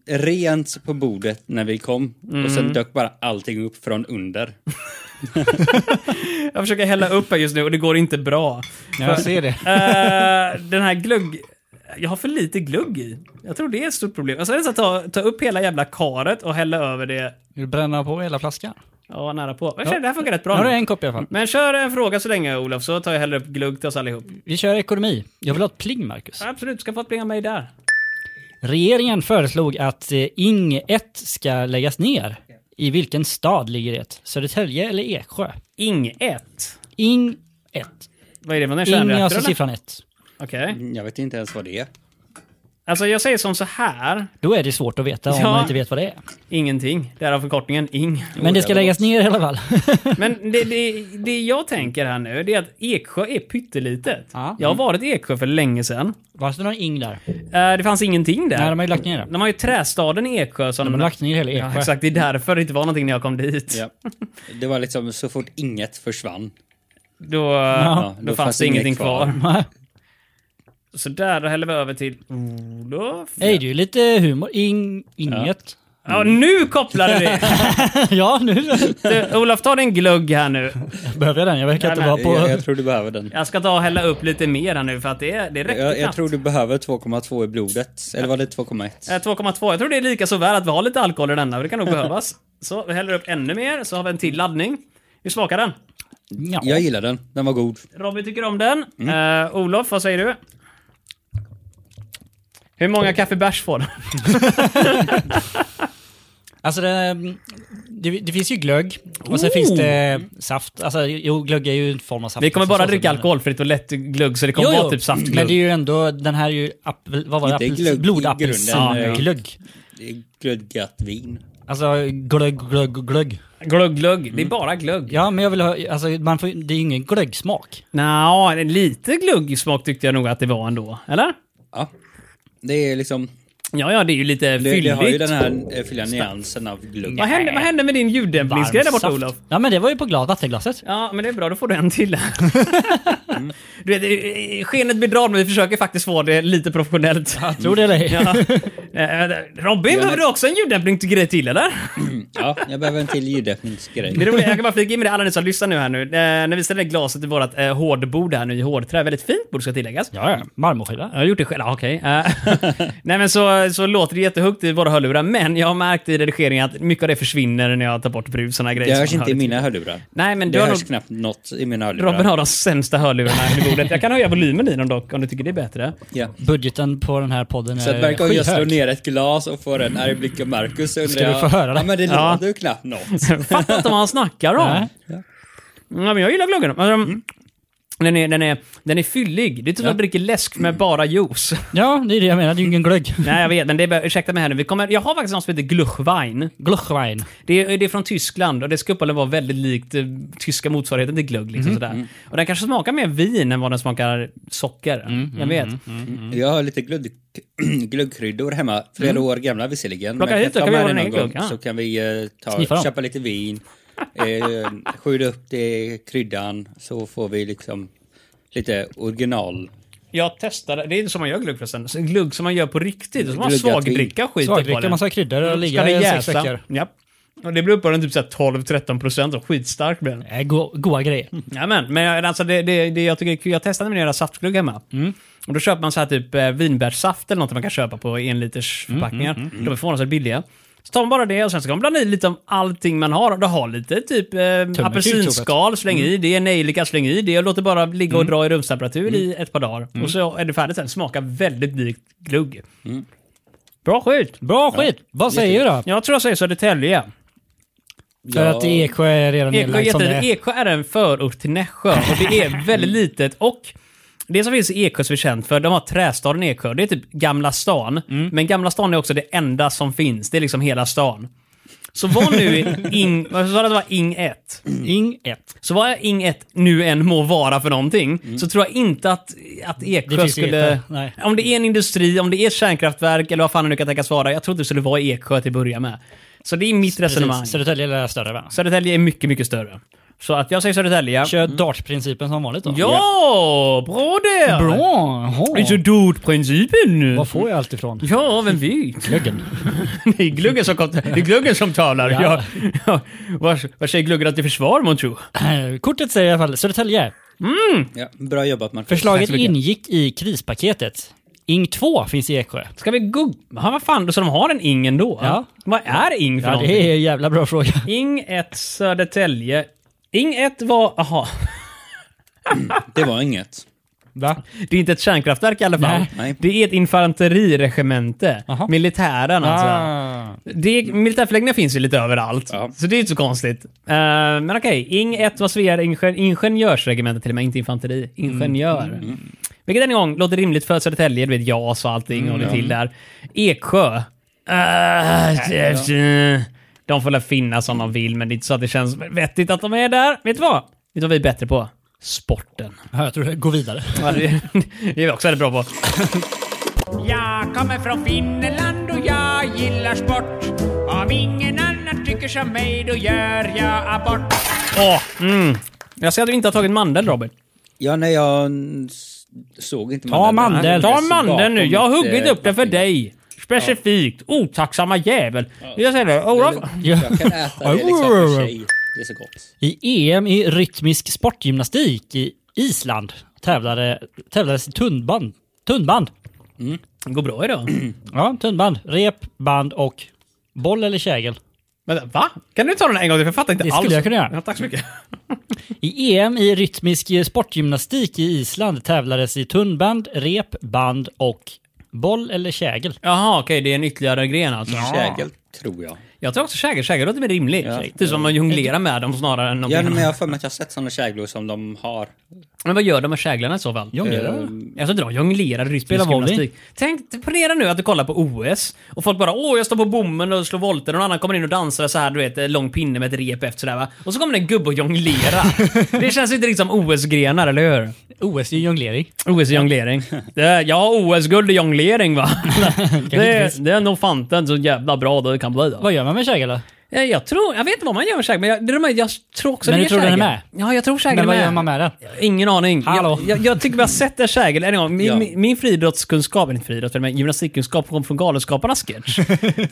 Speaker 3: rent på bordet när vi kom och sen dök bara allting upp från under.
Speaker 1: Jag försöker hälla upp här just nu och det går inte bra.
Speaker 2: Ja, jag ser det.
Speaker 1: Eh, den här glugg... Jag har för lite glugg i. Jag tror det är ett stort problem. Jag ska nästan ta, ta upp hela jävla karet och hälla över det
Speaker 2: Du bränner på hela flaskan.
Speaker 1: ja, nära på. Men ja. Det här funkar rätt
Speaker 2: Nu
Speaker 1: bra.
Speaker 2: har
Speaker 1: nu.
Speaker 2: du en kopp i alla fall.
Speaker 1: Men kör en fråga så länge Olof, så tar jag hellre upp glugg till oss allihop.
Speaker 2: Vi kör ekonomi. Jag vill ha ett pling, Marcus.
Speaker 1: Absolut, du ska få ett pling av mig där.
Speaker 2: Regeringen föreslog att eh, Ing 1 ska läggas ner. I vilken stad ligger det? Södertälje eller Eksjö?
Speaker 1: Ing 1.
Speaker 2: Ing 1.
Speaker 1: Vad är det? Vad är
Speaker 2: Ing,
Speaker 1: det?
Speaker 2: alltså
Speaker 1: Okej.
Speaker 2: siffran 1.
Speaker 3: Jag vet inte ens vad det är.
Speaker 1: Alltså jag säger som så här.
Speaker 2: Då är det svårt att veta om
Speaker 1: Ja.
Speaker 2: man inte vet vad det är.
Speaker 1: Ingenting. Därav förkortningen ing.
Speaker 2: Men det ska
Speaker 3: det var
Speaker 2: läggas ner i alla fall.
Speaker 1: Men det, det, det jag tänker här nu, det är att Eksjö är pyttelitet.
Speaker 2: Ja.
Speaker 1: Jag har varit i Eksjö för länge sedan.
Speaker 2: Varför några ing där?
Speaker 1: Eh, det fanns ingenting där.
Speaker 2: Nej, de har ju lagt ner det.
Speaker 1: De har ju trästaden i Eksjö som...
Speaker 2: De har lagt ner hela
Speaker 1: ja,
Speaker 2: Eksjö.
Speaker 1: exakt. Det är därför det inte var någonting när jag kom dit.
Speaker 3: Ja. Det var liksom så fort inget försvann.
Speaker 1: Då, eh,
Speaker 3: Ja,
Speaker 1: då, fanns det ingenting kvar.
Speaker 2: Nej.
Speaker 1: Så där, då häller vi över till Olof.
Speaker 2: Ej, det är ju lite humor. Ing, inget.
Speaker 1: Ja, nu kopplade vi!
Speaker 2: ja, nu
Speaker 1: Du, Olof, ta din glugg här nu.
Speaker 2: behöver jag den. Jag verkar inte
Speaker 1: Nej,
Speaker 2: vara
Speaker 3: På... Jag,
Speaker 2: på...
Speaker 3: jag tror du behöver den.
Speaker 1: Jag ska ta och hälla upp lite mer här nu för att det, är- det räcker
Speaker 3: Jag, jag
Speaker 1: knappt.
Speaker 3: tror du behöver 2,2 i blodet. Eller var det 2,1?
Speaker 1: Eh, 2,2. Jag tror det är lika så väl att vi har lite alkohol i denna, för det kan nog behövas. Så vi häller upp ännu mer, så har vi en till laddning. Hur smakar den?
Speaker 2: Ja.
Speaker 3: Jag gillar den. Den var god.
Speaker 1: Robin tycker om den. Eh, Olof, vad säger du? Hur många kaffebärs får den?
Speaker 2: Alltså det, det, det finns ju glögg och sen finns det saft. Alltså jo, glögg är ju en form av saft.
Speaker 1: Vi kommer
Speaker 2: Så-
Speaker 1: bara
Speaker 2: så-
Speaker 1: dricka
Speaker 2: men-
Speaker 1: alkoholfritt och lätt glugg, så det
Speaker 2: Jo,
Speaker 1: kommer
Speaker 2: jo.
Speaker 1: vara typ
Speaker 2: Men det är
Speaker 1: saftglugg.
Speaker 2: ju ändå, den här är ju appel, vad var det?
Speaker 3: Inte
Speaker 2: Appels,
Speaker 3: glögg i grunden, ja.
Speaker 2: Blodapelsinglögg.
Speaker 3: Det är Glödgat vin.
Speaker 2: Alltså glögg, glögg, glögg.
Speaker 1: Glugg, glugg. Det är bara glugg.
Speaker 2: Ja, men jag vill ha, alltså man får, det är ju ingen glöggsmak.
Speaker 1: Nja, en lite gluggsmak tyckte jag nog att det var ändå. Eller?
Speaker 3: Ja. Det är liksom...
Speaker 1: Ja, ja, det är ju lite
Speaker 3: Det, det har ju
Speaker 1: fylligt.
Speaker 3: den här eh, fylliga nyansen av glögg.
Speaker 1: Vad hände, vad hände med din ljuddämpningsgrej där borta,
Speaker 2: Varm
Speaker 1: Olof?
Speaker 2: saft. Ja, men det var ju på glad vattenglaset.
Speaker 1: Ja, men det är bra. Då får du en till. Mm. Du vet, eh, skenet bedrar men vi försöker faktiskt få det lite professionellt.
Speaker 2: Tror det eller ej.
Speaker 1: Ja. Eh, Robin, behöver du också en ljuddämpning till grej till eller?
Speaker 3: Ja, jag behöver en till ljuddämpningsgrej.
Speaker 1: Det roliga, jag kan bara flika in med det alla ni som lyssnar nu här nu. Eh, när vi ställer glaset i vårt eh, hårdbord här nu i hårdträ, väldigt fint bord ska tilläggas.
Speaker 2: Ja, ja. Marmorskiva.
Speaker 1: Jag har gjort det själv, Ja, okej. Eh, Nej men så, så låter det jättehögt i våra hörlurar, men jag har märkt i redigeringen att mycket av det försvinner när jag tar bort brus och såna grejer.
Speaker 3: Det
Speaker 1: som
Speaker 3: hörs
Speaker 1: man
Speaker 3: inte i
Speaker 1: hör
Speaker 3: mina hörlurar.
Speaker 1: Nej men du
Speaker 3: Det
Speaker 1: har
Speaker 3: hörs
Speaker 1: nog...
Speaker 3: knappt något i mina hörlurar.
Speaker 1: Robin har de sämsta hörlurarna i bordet. Jag kan höja volymen i dem dock, om du tycker det är bättre.
Speaker 3: Ja.
Speaker 2: Budgeten på den här podden
Speaker 3: Så att
Speaker 2: är
Speaker 3: verkar jag slår
Speaker 2: skyhög.
Speaker 3: ner ett glas och får en arg blick av Marcus så undrar
Speaker 2: Ska vi
Speaker 3: jag-
Speaker 2: få höra det?
Speaker 3: Ja, men det
Speaker 1: Ja.
Speaker 3: låter ju knappt något.
Speaker 1: Fattar inte vad han snackar om.
Speaker 2: Nej.
Speaker 1: Ja, men jag gillar glöggen. Alltså, den, är, den, är, den är fyllig. Det är typ som att dricka läsk med bara juice.
Speaker 2: Ja, det är det jag menar. Det är ju ingen glögg.
Speaker 1: Nej, jag vet, men det är, bara- ursäkta mig här nu. Vi kommer, jag har faktiskt något som heter Gluchwein.
Speaker 2: Gluchwein.
Speaker 1: Det är, det är från Tyskland och det ska uppenbarligen vara väldigt likt eh, tyska motsvarigheten till glögg.
Speaker 2: Mm,
Speaker 1: Liksom, sådär. Och den kanske smakar mer vin än vad den smakar socker.
Speaker 2: Mm,
Speaker 1: jag vet.
Speaker 3: Jag har lite glögg, glöggkryddor hemma, flera
Speaker 2: Mm.
Speaker 3: år gamla visserligen.
Speaker 1: Plocka hit
Speaker 3: jag
Speaker 1: då,
Speaker 3: ta
Speaker 1: kan vi
Speaker 3: med
Speaker 1: göra
Speaker 3: det
Speaker 1: en
Speaker 3: någon
Speaker 1: egen
Speaker 3: gång,
Speaker 1: glögg, ja.
Speaker 3: Så kan vi eh,
Speaker 2: Sniffa dem.
Speaker 3: ta, köpa lite vin, eh, skjuta upp det kryddan så får vi liksom lite original.
Speaker 1: Jag testade, det är inte som man gör glögg förresten. Så Glögg som man gör på riktigt. Som man
Speaker 3: Glöggat
Speaker 1: svagdricka och skit i på
Speaker 2: Svagdricka,
Speaker 1: den. Mm.
Speaker 2: massa kryddor och
Speaker 1: Ska
Speaker 2: ligga
Speaker 1: det
Speaker 2: i sex
Speaker 1: jäsa.
Speaker 2: veckor.
Speaker 1: Ja. Och det blir uppenbarligen typ så här 12-13 procent och skitstark blir den.
Speaker 2: Nej, Äh, go- Goa grejer.
Speaker 1: Jajamän, men alltså det, det, det jag tycker är kul, jag testade med att göra saftglögg hemma. Och då köper man så här typ eh, vinbärssaft eller något man kan köpa på enliters förpackningar. De är förvånansvärt billiga. Så tar man bara det och sen ska man blanda i lite om allting man har. Du har lite typ eh, apelsinskal, släng i det, nejlika, släng i det och låter bara ligga och dra i rumstemperatur i ett par dagar. Och så är det färdigt sen. Smakar väldigt likt glögg. Bra skit!
Speaker 2: Bra skit! Vad säger du då?
Speaker 1: Jag tror jag säger Södertälje.
Speaker 2: För att Eksjö är redan
Speaker 1: Eksjö är,
Speaker 2: nedlagd som det
Speaker 1: jätte-
Speaker 2: är.
Speaker 1: Eksjö är en förort till Nässjö och det är väldigt litet. Och det som finns i Eksjö som är känt för, de har trästaden Eksjö. Det är typ Gamla stan.
Speaker 2: Mm.
Speaker 1: Men Gamla stan är också det enda som finns. Det är liksom hela stan. Så var nu Ing... Vad sa du att det var? Ing 1.
Speaker 2: Ing 1.
Speaker 1: Så vad Ing 1 nu än må vara för någonting, så tror jag inte att, att
Speaker 2: Mm. Det
Speaker 1: Eksjö
Speaker 2: finns i Eksjö,
Speaker 1: skulle...
Speaker 2: nej.
Speaker 1: Om det är en industri, om det är ett kärnkraftverk eller vad fan det nu kan tänkas vara, jag tror inte det skulle vara i Eksjö till att börja med. Så det är mitt resonemang.
Speaker 2: Precis. Södertälje är det där större va?
Speaker 1: Södertälje är mycket, mycket större. Så att jag säger Södertälje.
Speaker 2: Kör dartprincipen som vanligt då.
Speaker 1: Ja, bra där!
Speaker 2: Bra!
Speaker 1: Det är så
Speaker 2: jaha.
Speaker 1: dotprincipen.
Speaker 2: Var får jag allt ifrån?
Speaker 1: Ja, vem vet?
Speaker 2: Glöggen.
Speaker 1: Det är gluggen som, kom, det är gluggen som talar.
Speaker 2: Ja.
Speaker 1: Ja. Ja. Vad vad säger gluggen att det är försvar månntro?
Speaker 2: Eh, Kortet säger i alla fall Södertälje.
Speaker 3: Ja, bra jobbat Marcus.
Speaker 2: Förslaget
Speaker 3: Tack så mycket.
Speaker 2: ingick i krispaketet. Ing 2 finns i Eksjö.
Speaker 1: Ska vi googla? Vad fan, så de har en ing ändå?
Speaker 2: Ja.
Speaker 1: Vad är ing för
Speaker 2: Ja,
Speaker 1: någonting?
Speaker 2: det är en jävla bra fråga.
Speaker 1: Ing 1 Södertälje. Ing 1 var... Aha.
Speaker 3: Det var inget.
Speaker 2: Va?
Speaker 1: Det är inte ett kärnkraftverk i alla fall.
Speaker 2: Nej.
Speaker 3: Nej.
Speaker 1: Det är ett infanteriregemente.
Speaker 2: Aha.
Speaker 1: Militären alltså. Det, militärförläggningar finns ju lite överallt,
Speaker 3: Ja.
Speaker 1: så det är inte så konstigt. Eh, men okej, Ing 1 var Svea ingen, ingenjörsregemente till och med, inte infanteri. Ingenjör. Vilket än en gång låter rimligt för Södertälje, du vet JAS och allting och det till där. Eksjö. Eh, eh, de får väl finnas om de vill, men det är inte så att det känns vettigt att de är där. Vet du vad? Vet du vad vi är bättre på? Sporten.
Speaker 2: Ja, jag tror det. Gå vidare.
Speaker 1: Ja, det, det är vi också väldigt bra på. Jag kommer från Finland och jag gillar sport. Om ingen annan tycker som mig, då gör jag abort. Åh, mm. Jag ser att du inte har tagit mandel, Robin.
Speaker 3: Ja, nej, jag mm, s- såg inte
Speaker 2: Ta
Speaker 3: Nej,
Speaker 2: mandeln.
Speaker 1: Ta
Speaker 3: jag såg
Speaker 1: mandeln nu.
Speaker 3: bakom
Speaker 1: Jag har
Speaker 3: mitt,
Speaker 1: huggit
Speaker 3: eh,
Speaker 1: upp den för dig. Specifikt. Otacksamma jävel. Jag säger det. Olof.
Speaker 3: Jag kan äta det liksom för sig. Det är så gott.
Speaker 2: I EM i rytmisk sportgymnastik i Island tävlade, tävlades i tunnband. Tunnband.
Speaker 1: Det går bra idag.
Speaker 2: Ja, tunnband. Rep, band och boll eller kägel.
Speaker 1: Men, va? Kan du ta den en gång till? För jag fattar inte
Speaker 2: Det
Speaker 1: alls.
Speaker 2: skulle jag kunna göra.
Speaker 1: Ja, tack så mycket.
Speaker 2: I EM i rytmisk sportgymnastik i Island tävlades i tunnband, rep, band och boll eller kägel.
Speaker 1: Jaha, okej. Det är en ytterligare gren alltså.
Speaker 3: Kägel, tror jag.
Speaker 1: Jag tror också kägel. Kägel låter mer rimligt.
Speaker 3: Ja.
Speaker 1: Typ som man jonglerar med dem snarare än någonting
Speaker 3: Ja, men
Speaker 1: annat.
Speaker 3: jag har för mig att jag har sett sådana käglor som de har.
Speaker 1: Men vad gör de med käglarna i så fall?
Speaker 2: Jonglerar?
Speaker 1: Alltså dra jonglerar rytmisk
Speaker 2: Spela volley.
Speaker 1: gymnastik. Tänk, ponera nu att du kollar på OS och folk bara åh jag står på bommen och slår volter och någon annan kommer in och dansar så här du vet lång pinne med ett rep efter sådär va. Och så kommer det en gubbe och jonglerar. det känns inte riktigt som OS-grenar eller hur?
Speaker 2: OS i jonglering.
Speaker 1: OS i jonglering. Det är, jag har OS-guld i jonglering va. det, är- det är nog fan inte så jävla bra det kan bli. Då.
Speaker 2: Vad gör man med kägel då?
Speaker 1: Ja, Jag tror, jag vet inte vad man gör med käk, men jag, det är de här- jag tror också
Speaker 2: Men
Speaker 1: det
Speaker 2: du tror den är
Speaker 1: kägel.
Speaker 2: med?
Speaker 1: Ja, jag tror kägel
Speaker 2: Men
Speaker 1: är
Speaker 2: vad
Speaker 1: med.
Speaker 2: gör man med den?
Speaker 1: Ingen aning.
Speaker 2: Hallå?
Speaker 1: Jag, jag, jag tycker vi har sett en kägel en gång. Min,
Speaker 3: Ja.
Speaker 1: min, min friidrottskunskap, inte friidrott, men gymnastikkunskap kom från Galenskaparnas sketch. uh,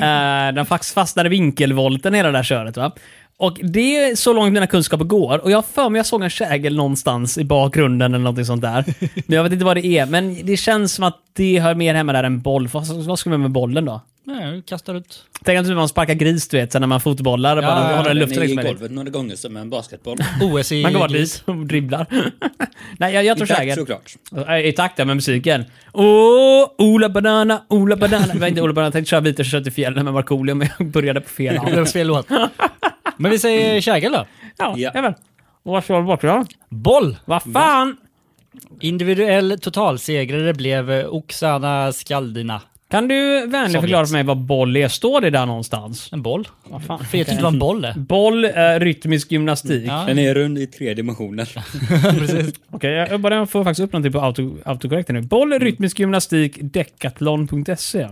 Speaker 1: den faktiskt fastnade i vinkelvolten hela det där köret. Va? Och det är så långt mina kunskaper går. Och jag har för mig jag såg en kägel någonstans i bakgrunden eller någonting sånt där. Men jag vet inte vad det är. Men det känns som att det hör mer hemma där än boll. Vad, vad ska man göra med bollen då?
Speaker 2: Nej, du kastar ut.
Speaker 1: Tänk om typ man sparkar gris du vet, sen när man fotbollar. och bara
Speaker 2: ja,
Speaker 1: håller
Speaker 3: Den
Speaker 1: den i
Speaker 3: är
Speaker 1: luften
Speaker 3: i
Speaker 1: liksom. eller-
Speaker 3: golvet några gånger som en basketboll.
Speaker 2: OS i...
Speaker 1: Man går
Speaker 2: gris.
Speaker 1: dit och dribblar. Nej, jag, jag tror
Speaker 3: I takt,
Speaker 1: säkert.
Speaker 3: såklart.
Speaker 1: Eh, I takt ja, med musiken. Åh, Ola Banana, Ola Banana. Det var inte Ola Banana, jag tänkte köra Vita kött i fjällen med Markoolio, men jag började på fel
Speaker 2: Ja,
Speaker 1: hand.
Speaker 2: det var fel låt. Men vi säger kägel då.
Speaker 1: Ja,
Speaker 3: Ja.
Speaker 1: jajamän. Och Vad står det bakom?
Speaker 2: Boll!
Speaker 1: Vad fan?
Speaker 2: Individuell totalsegrare blev eh, Oksana Skaldina.
Speaker 1: Kan du vänligen förklara för mig vad boll är? Står det där någonstans?
Speaker 2: En boll.
Speaker 1: Vad fan?
Speaker 2: För jag tyckte det var en boll det.
Speaker 1: Boll, eh, rytmisk gymnastik.
Speaker 2: Ja.
Speaker 3: Den är rund i tre dimensioner.
Speaker 1: Okej, jag- jag bara får faktiskt upp någonting på auto, autocorrecten nu. Boll, rytmisk gymnastik, decathlon.se. Um,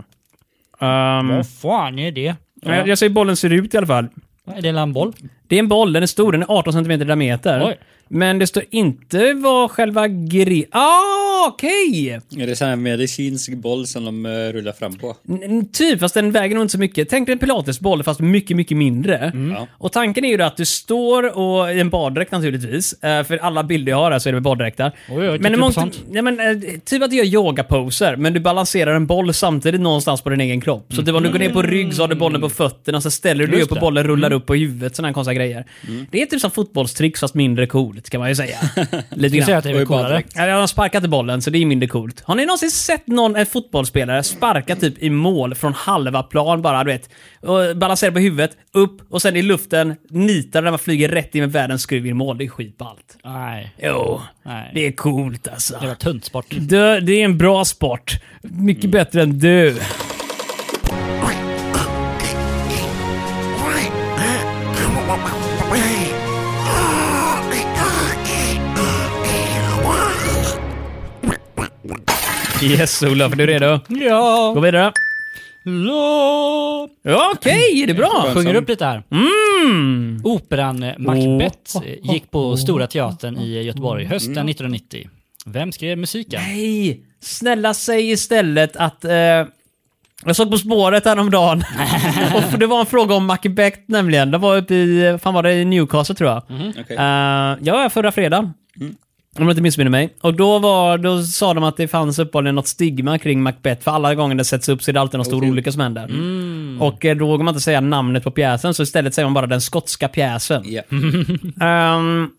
Speaker 2: Vad fan är det?
Speaker 1: jag, jag säger bollen ser ut i alla fall.
Speaker 2: Är det en boll?
Speaker 1: Det är en boll, den är stor, den är 18 cm diameter.
Speaker 2: Oj.
Speaker 1: Men det står inte vad själva gre... Ah, okej!
Speaker 3: är det sån här medicinsk boll som de eh, rullar fram på?
Speaker 1: N- n- Typ, fast den väger nog inte så mycket. Tänk dig en pilatesboll fast mycket, mycket mindre.
Speaker 2: Mm.
Speaker 3: Ja.
Speaker 1: Och tanken är ju då att du står och, i en baddräkt naturligtvis, eh, för alla bilder jag har här så är det med baddräktar.
Speaker 2: Oj, oj,
Speaker 1: men
Speaker 2: typ
Speaker 1: det måste-
Speaker 2: sånt.
Speaker 1: nej, men, eh, typ att du gör yogaposer, men du balanserar en boll samtidigt någonstans på din egen kropp. Så typ om du går ner på rygg så har du bollen på fötterna, så ställer du dig
Speaker 2: Mm.
Speaker 1: upp
Speaker 2: Just
Speaker 1: och
Speaker 2: det. Mm.
Speaker 1: bollen rullar upp på huvudet. Sådana här konstiga grejer. Det är typ som fotbollstricks fast mindre coolt kan man ju säga. Lite
Speaker 2: Vi säger
Speaker 1: grann.
Speaker 2: att det
Speaker 3: Och
Speaker 2: är
Speaker 3: i
Speaker 2: coolare.
Speaker 3: baddräkt.
Speaker 1: Ja, jag har sparkat i bollen, så det är mindre coolt. Har ni någonsin sett någon en fotbollsspelare sparka typ i mål från halva plan bara, du vet? Och balansera på huvudet, upp och sen i luften, nitar när man flyger rätt in med världens skruv i mål. Det är skitballt.
Speaker 2: Nej,
Speaker 1: Jo,
Speaker 2: Nej.
Speaker 1: det är coolt alltså.
Speaker 2: det var tunt sport.
Speaker 1: Dö, det är en bra sport. Mycket bättre än du. Yes, Olof. Är du redo? Gå
Speaker 2: Ja,
Speaker 1: vidare.
Speaker 2: la.
Speaker 1: Ja, Okej, det är bra.
Speaker 2: Sjunger upp lite här.
Speaker 1: Mm.
Speaker 2: Operan eh, Macbeth eh, gick på Stora Teatern i Göteborg hösten 1990. Vem skrev musiken?
Speaker 1: Nej, snälla säg istället att... Eh, jag såg På spåret häromdagen. och för- det var en fråga om Macbeth nämligen. Det var uppe i, fan var det i Newcastle tror jag.
Speaker 3: Mhm, Okej. Mm.
Speaker 1: Eh, ja, förra fredagen. Om jag inte missminner mig. Och då, var, då sa de att det fanns uppenbarligen något stigma kring Macbeth. För alla gånger det sätts upp så är det alltid någon stor
Speaker 3: Okej. Mm.
Speaker 1: olycka som händer. Och eh, då vågar man inte säga namnet på pjäsen, så istället säger man bara den skotska pjäsen.
Speaker 3: Ja. Mm.
Speaker 1: Ehm,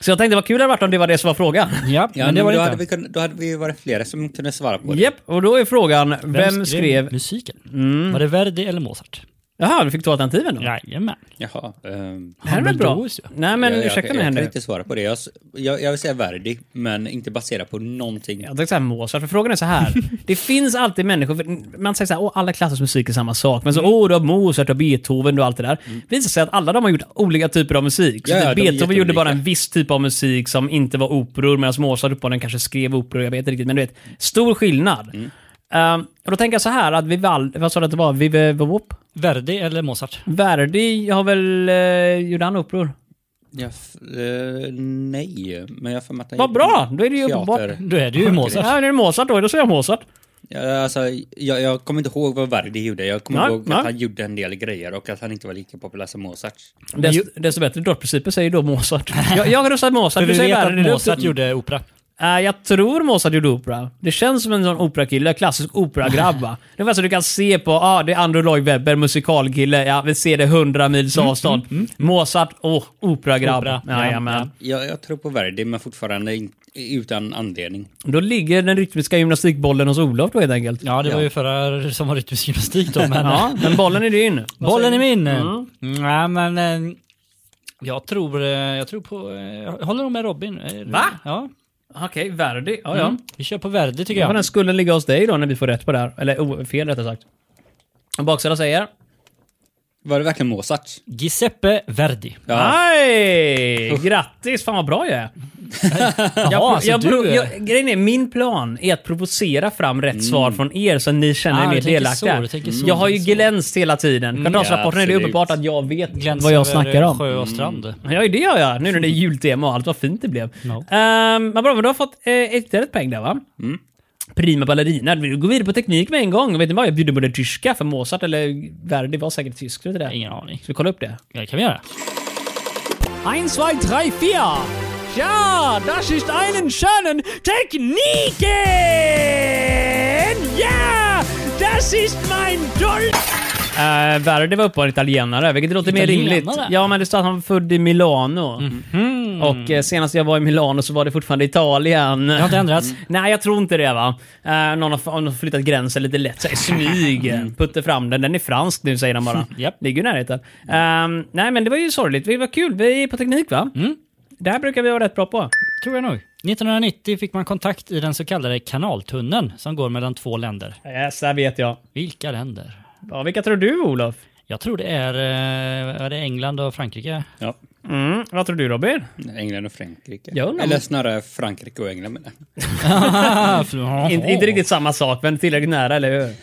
Speaker 1: så jag tänkte vad kul det hade varit om det var det som var frågan.
Speaker 2: Ja,
Speaker 3: Ja,
Speaker 2: men det var
Speaker 3: då,
Speaker 2: det
Speaker 3: hade
Speaker 2: inte.
Speaker 3: vi kunnat, då hade vi varit flera som kunde svara på det.
Speaker 1: Japp, och då är frågan, vem, skrev...
Speaker 2: musiken? Var det Verdi eller Mozart?
Speaker 1: Jaha, vi fick ta alternativen då?
Speaker 2: Jajamän.
Speaker 3: Jaha. ehm,
Speaker 1: Det här är väl bra?
Speaker 2: Dumbledore, ja.
Speaker 1: Nej men
Speaker 3: jag,
Speaker 1: ursäkta
Speaker 3: jag,
Speaker 1: mig
Speaker 3: jag kan
Speaker 1: Henry.
Speaker 3: inte svara på det. Jag, s- jag, jag vill säga Verdi, men inte baserat på någonting.
Speaker 1: Jag tänkte säga Mozart, för frågan är så här. det finns alltid människor, för man säger så här, åh alla klassers musik är samma sak, men så åh du har Mozart och Beethoven och allt det där. Det visar sig att alla de har gjort olika typer av musik. Så
Speaker 3: Mm. Ja,
Speaker 1: typ
Speaker 3: ja, de är
Speaker 1: Beethoven gjorde
Speaker 3: jätteolika.
Speaker 1: bara en viss typ av musik som inte var operor, medan Mozart uppenbarligen kanske skrev operor, jag vet inte riktigt, men du vet, stor skillnad.
Speaker 3: Mm.
Speaker 1: Ehm, och då tänker jag så här att Vivaldi, vad sa du att det var? Vive, Vivop?
Speaker 2: Verdi eller Mozart?
Speaker 1: Verdi har väl, eh, gjorde han operor?
Speaker 3: Jag, f- eh, nej, men jag har för mig att han
Speaker 1: Vad
Speaker 3: gjorde
Speaker 1: bra! Då är det ju
Speaker 3: teater.
Speaker 1: uppenbart.
Speaker 2: Då är det ju Mozart.
Speaker 1: Ja, nu är det Mozart då, då säger jag Mozart.
Speaker 3: Ja, alltså, jag, jag kommer inte ihåg vad Verdi gjorde. Jag kommer
Speaker 1: Nej,
Speaker 3: ihåg
Speaker 1: nej.
Speaker 3: att han gjorde en del grejer och att han inte var lika populär som Mozart.
Speaker 1: Desto, desto bättre. Dortprincipen säger då Mozart. Jag, jag röstar
Speaker 2: För
Speaker 1: Mozart,
Speaker 2: vi
Speaker 1: du säger
Speaker 2: vet
Speaker 1: Verdi.
Speaker 2: att
Speaker 1: Du-
Speaker 2: Mozart gjorde opera.
Speaker 1: Äh, jag tror Mozart gjorde opera. Det känns som en sån operakille, klassisk operagrabb va? Det var så du kan se på, ah, det är Andrew Lloyd Webber, musikalkille, ja vi ser det hundra mils avstånd. Mozart, åh, operagabb.
Speaker 2: Mm, Opera, ja,
Speaker 1: Jajamän.
Speaker 2: ja.
Speaker 3: Jag, jag tror på Verdi, men fortfarande in, utan anledning.
Speaker 1: Då ligger den rytmiska gymnastikbollen hos Olof då helt enkelt.
Speaker 2: Ja, det var
Speaker 3: Ja.
Speaker 2: ju förra som var rytmisk gymnastik då, men...
Speaker 1: Ja, men bollen är din.
Speaker 2: Bollen är min! Mm. Nej, men... eh, Jag tror, eh, jag tror på... eh, Jag håller nog med Robin. Eh,
Speaker 1: Va?
Speaker 2: Ja.
Speaker 1: Okej, Verdi. Ja, ja.
Speaker 2: ja. Vi kör på Verdi tycker
Speaker 1: Ja.
Speaker 2: jag.
Speaker 1: Den skulle ligga hos dig då när vi får rätt på det här. Eller oh, fel rättare sagt. Och Baksida säger?
Speaker 3: Var det verkligen Mozart?
Speaker 2: Giuseppe Verdi.
Speaker 1: Ah.
Speaker 3: Ja.
Speaker 1: Nej! Grattis! Fan vad bra jag är.
Speaker 2: Jaha, så
Speaker 1: jag,
Speaker 2: du...
Speaker 1: pro- jag, grejen är, min plan är att provocera fram rätt svar från er så ni känner er
Speaker 2: Mm. Ah,
Speaker 1: mer
Speaker 2: du tänker
Speaker 1: delaktiga.
Speaker 2: så, du tänker så,
Speaker 1: jag har ju
Speaker 2: du tänker så. Mm,
Speaker 1: glänst hela tiden. Kvartalsrapporten är det
Speaker 3: absolut.
Speaker 1: uppenbart att jag vet
Speaker 2: Gläns
Speaker 1: vad jag
Speaker 2: över
Speaker 1: snackar om. Mm.
Speaker 2: Sjö och strand.
Speaker 1: Ja, det gör jag. Nu när det är jultema och allt, vad fint det blev.
Speaker 2: Ja.
Speaker 1: Ehm, men bra, men du har fått eh, ytterligare ett poäng där va? Prima ballerina. Nu går vi vidare på teknik med en gång. Vet ni vad? Jag bjuder på det tyska, för Mozart eller Verdi var säkert tysk. Tror du inte det?
Speaker 2: Ingen aning.
Speaker 1: Ska vi kolla upp det?
Speaker 2: Det kan vi göra.
Speaker 1: 1, 2, 3, 4. Ja, das ist einen schönen Techniken! Ja, das ist mein Dolch! Uh, Verdi var uppenbarligen italienare, vilket låter mer rimligt.
Speaker 2: Italienare? Mm.
Speaker 1: Ja, men det står att han var född i Milano. Och eh, senast jag var i Milano så var det fortfarande Italien. Mm.
Speaker 2: Det har inte ändrats.
Speaker 1: Nej, jag tror inte det va. Eh, någon, har, har nog flyttat gränsen lite lätt, så här, i smyg. Putter fram den. Den är fransk nu säger de bara.
Speaker 2: Mm. Japp.
Speaker 1: Ligger i närheten. Ehm, nej men det var ju sorgligt. Det var kul. Vi är på teknik va?
Speaker 2: Mm.
Speaker 1: Det här brukar vi vara rätt bra på.
Speaker 2: Tror jag nog. 1990 fick man kontakt i den så kallade kanaltunneln som går mellan två länder.
Speaker 1: Yes, där vet jag.
Speaker 2: Vilka länder?
Speaker 1: Ja, vilka tror du Olof?
Speaker 2: Jag tror det är, eh, är det England och Frankrike.
Speaker 3: Ja.
Speaker 1: Mm, vad tror du Robin?
Speaker 3: England och Frankrike.
Speaker 1: Jag undrar om-
Speaker 3: Eller snarare Frankrike och England. Men...
Speaker 1: In, inte riktigt samma sak, men tillräckligt nära, eller hur?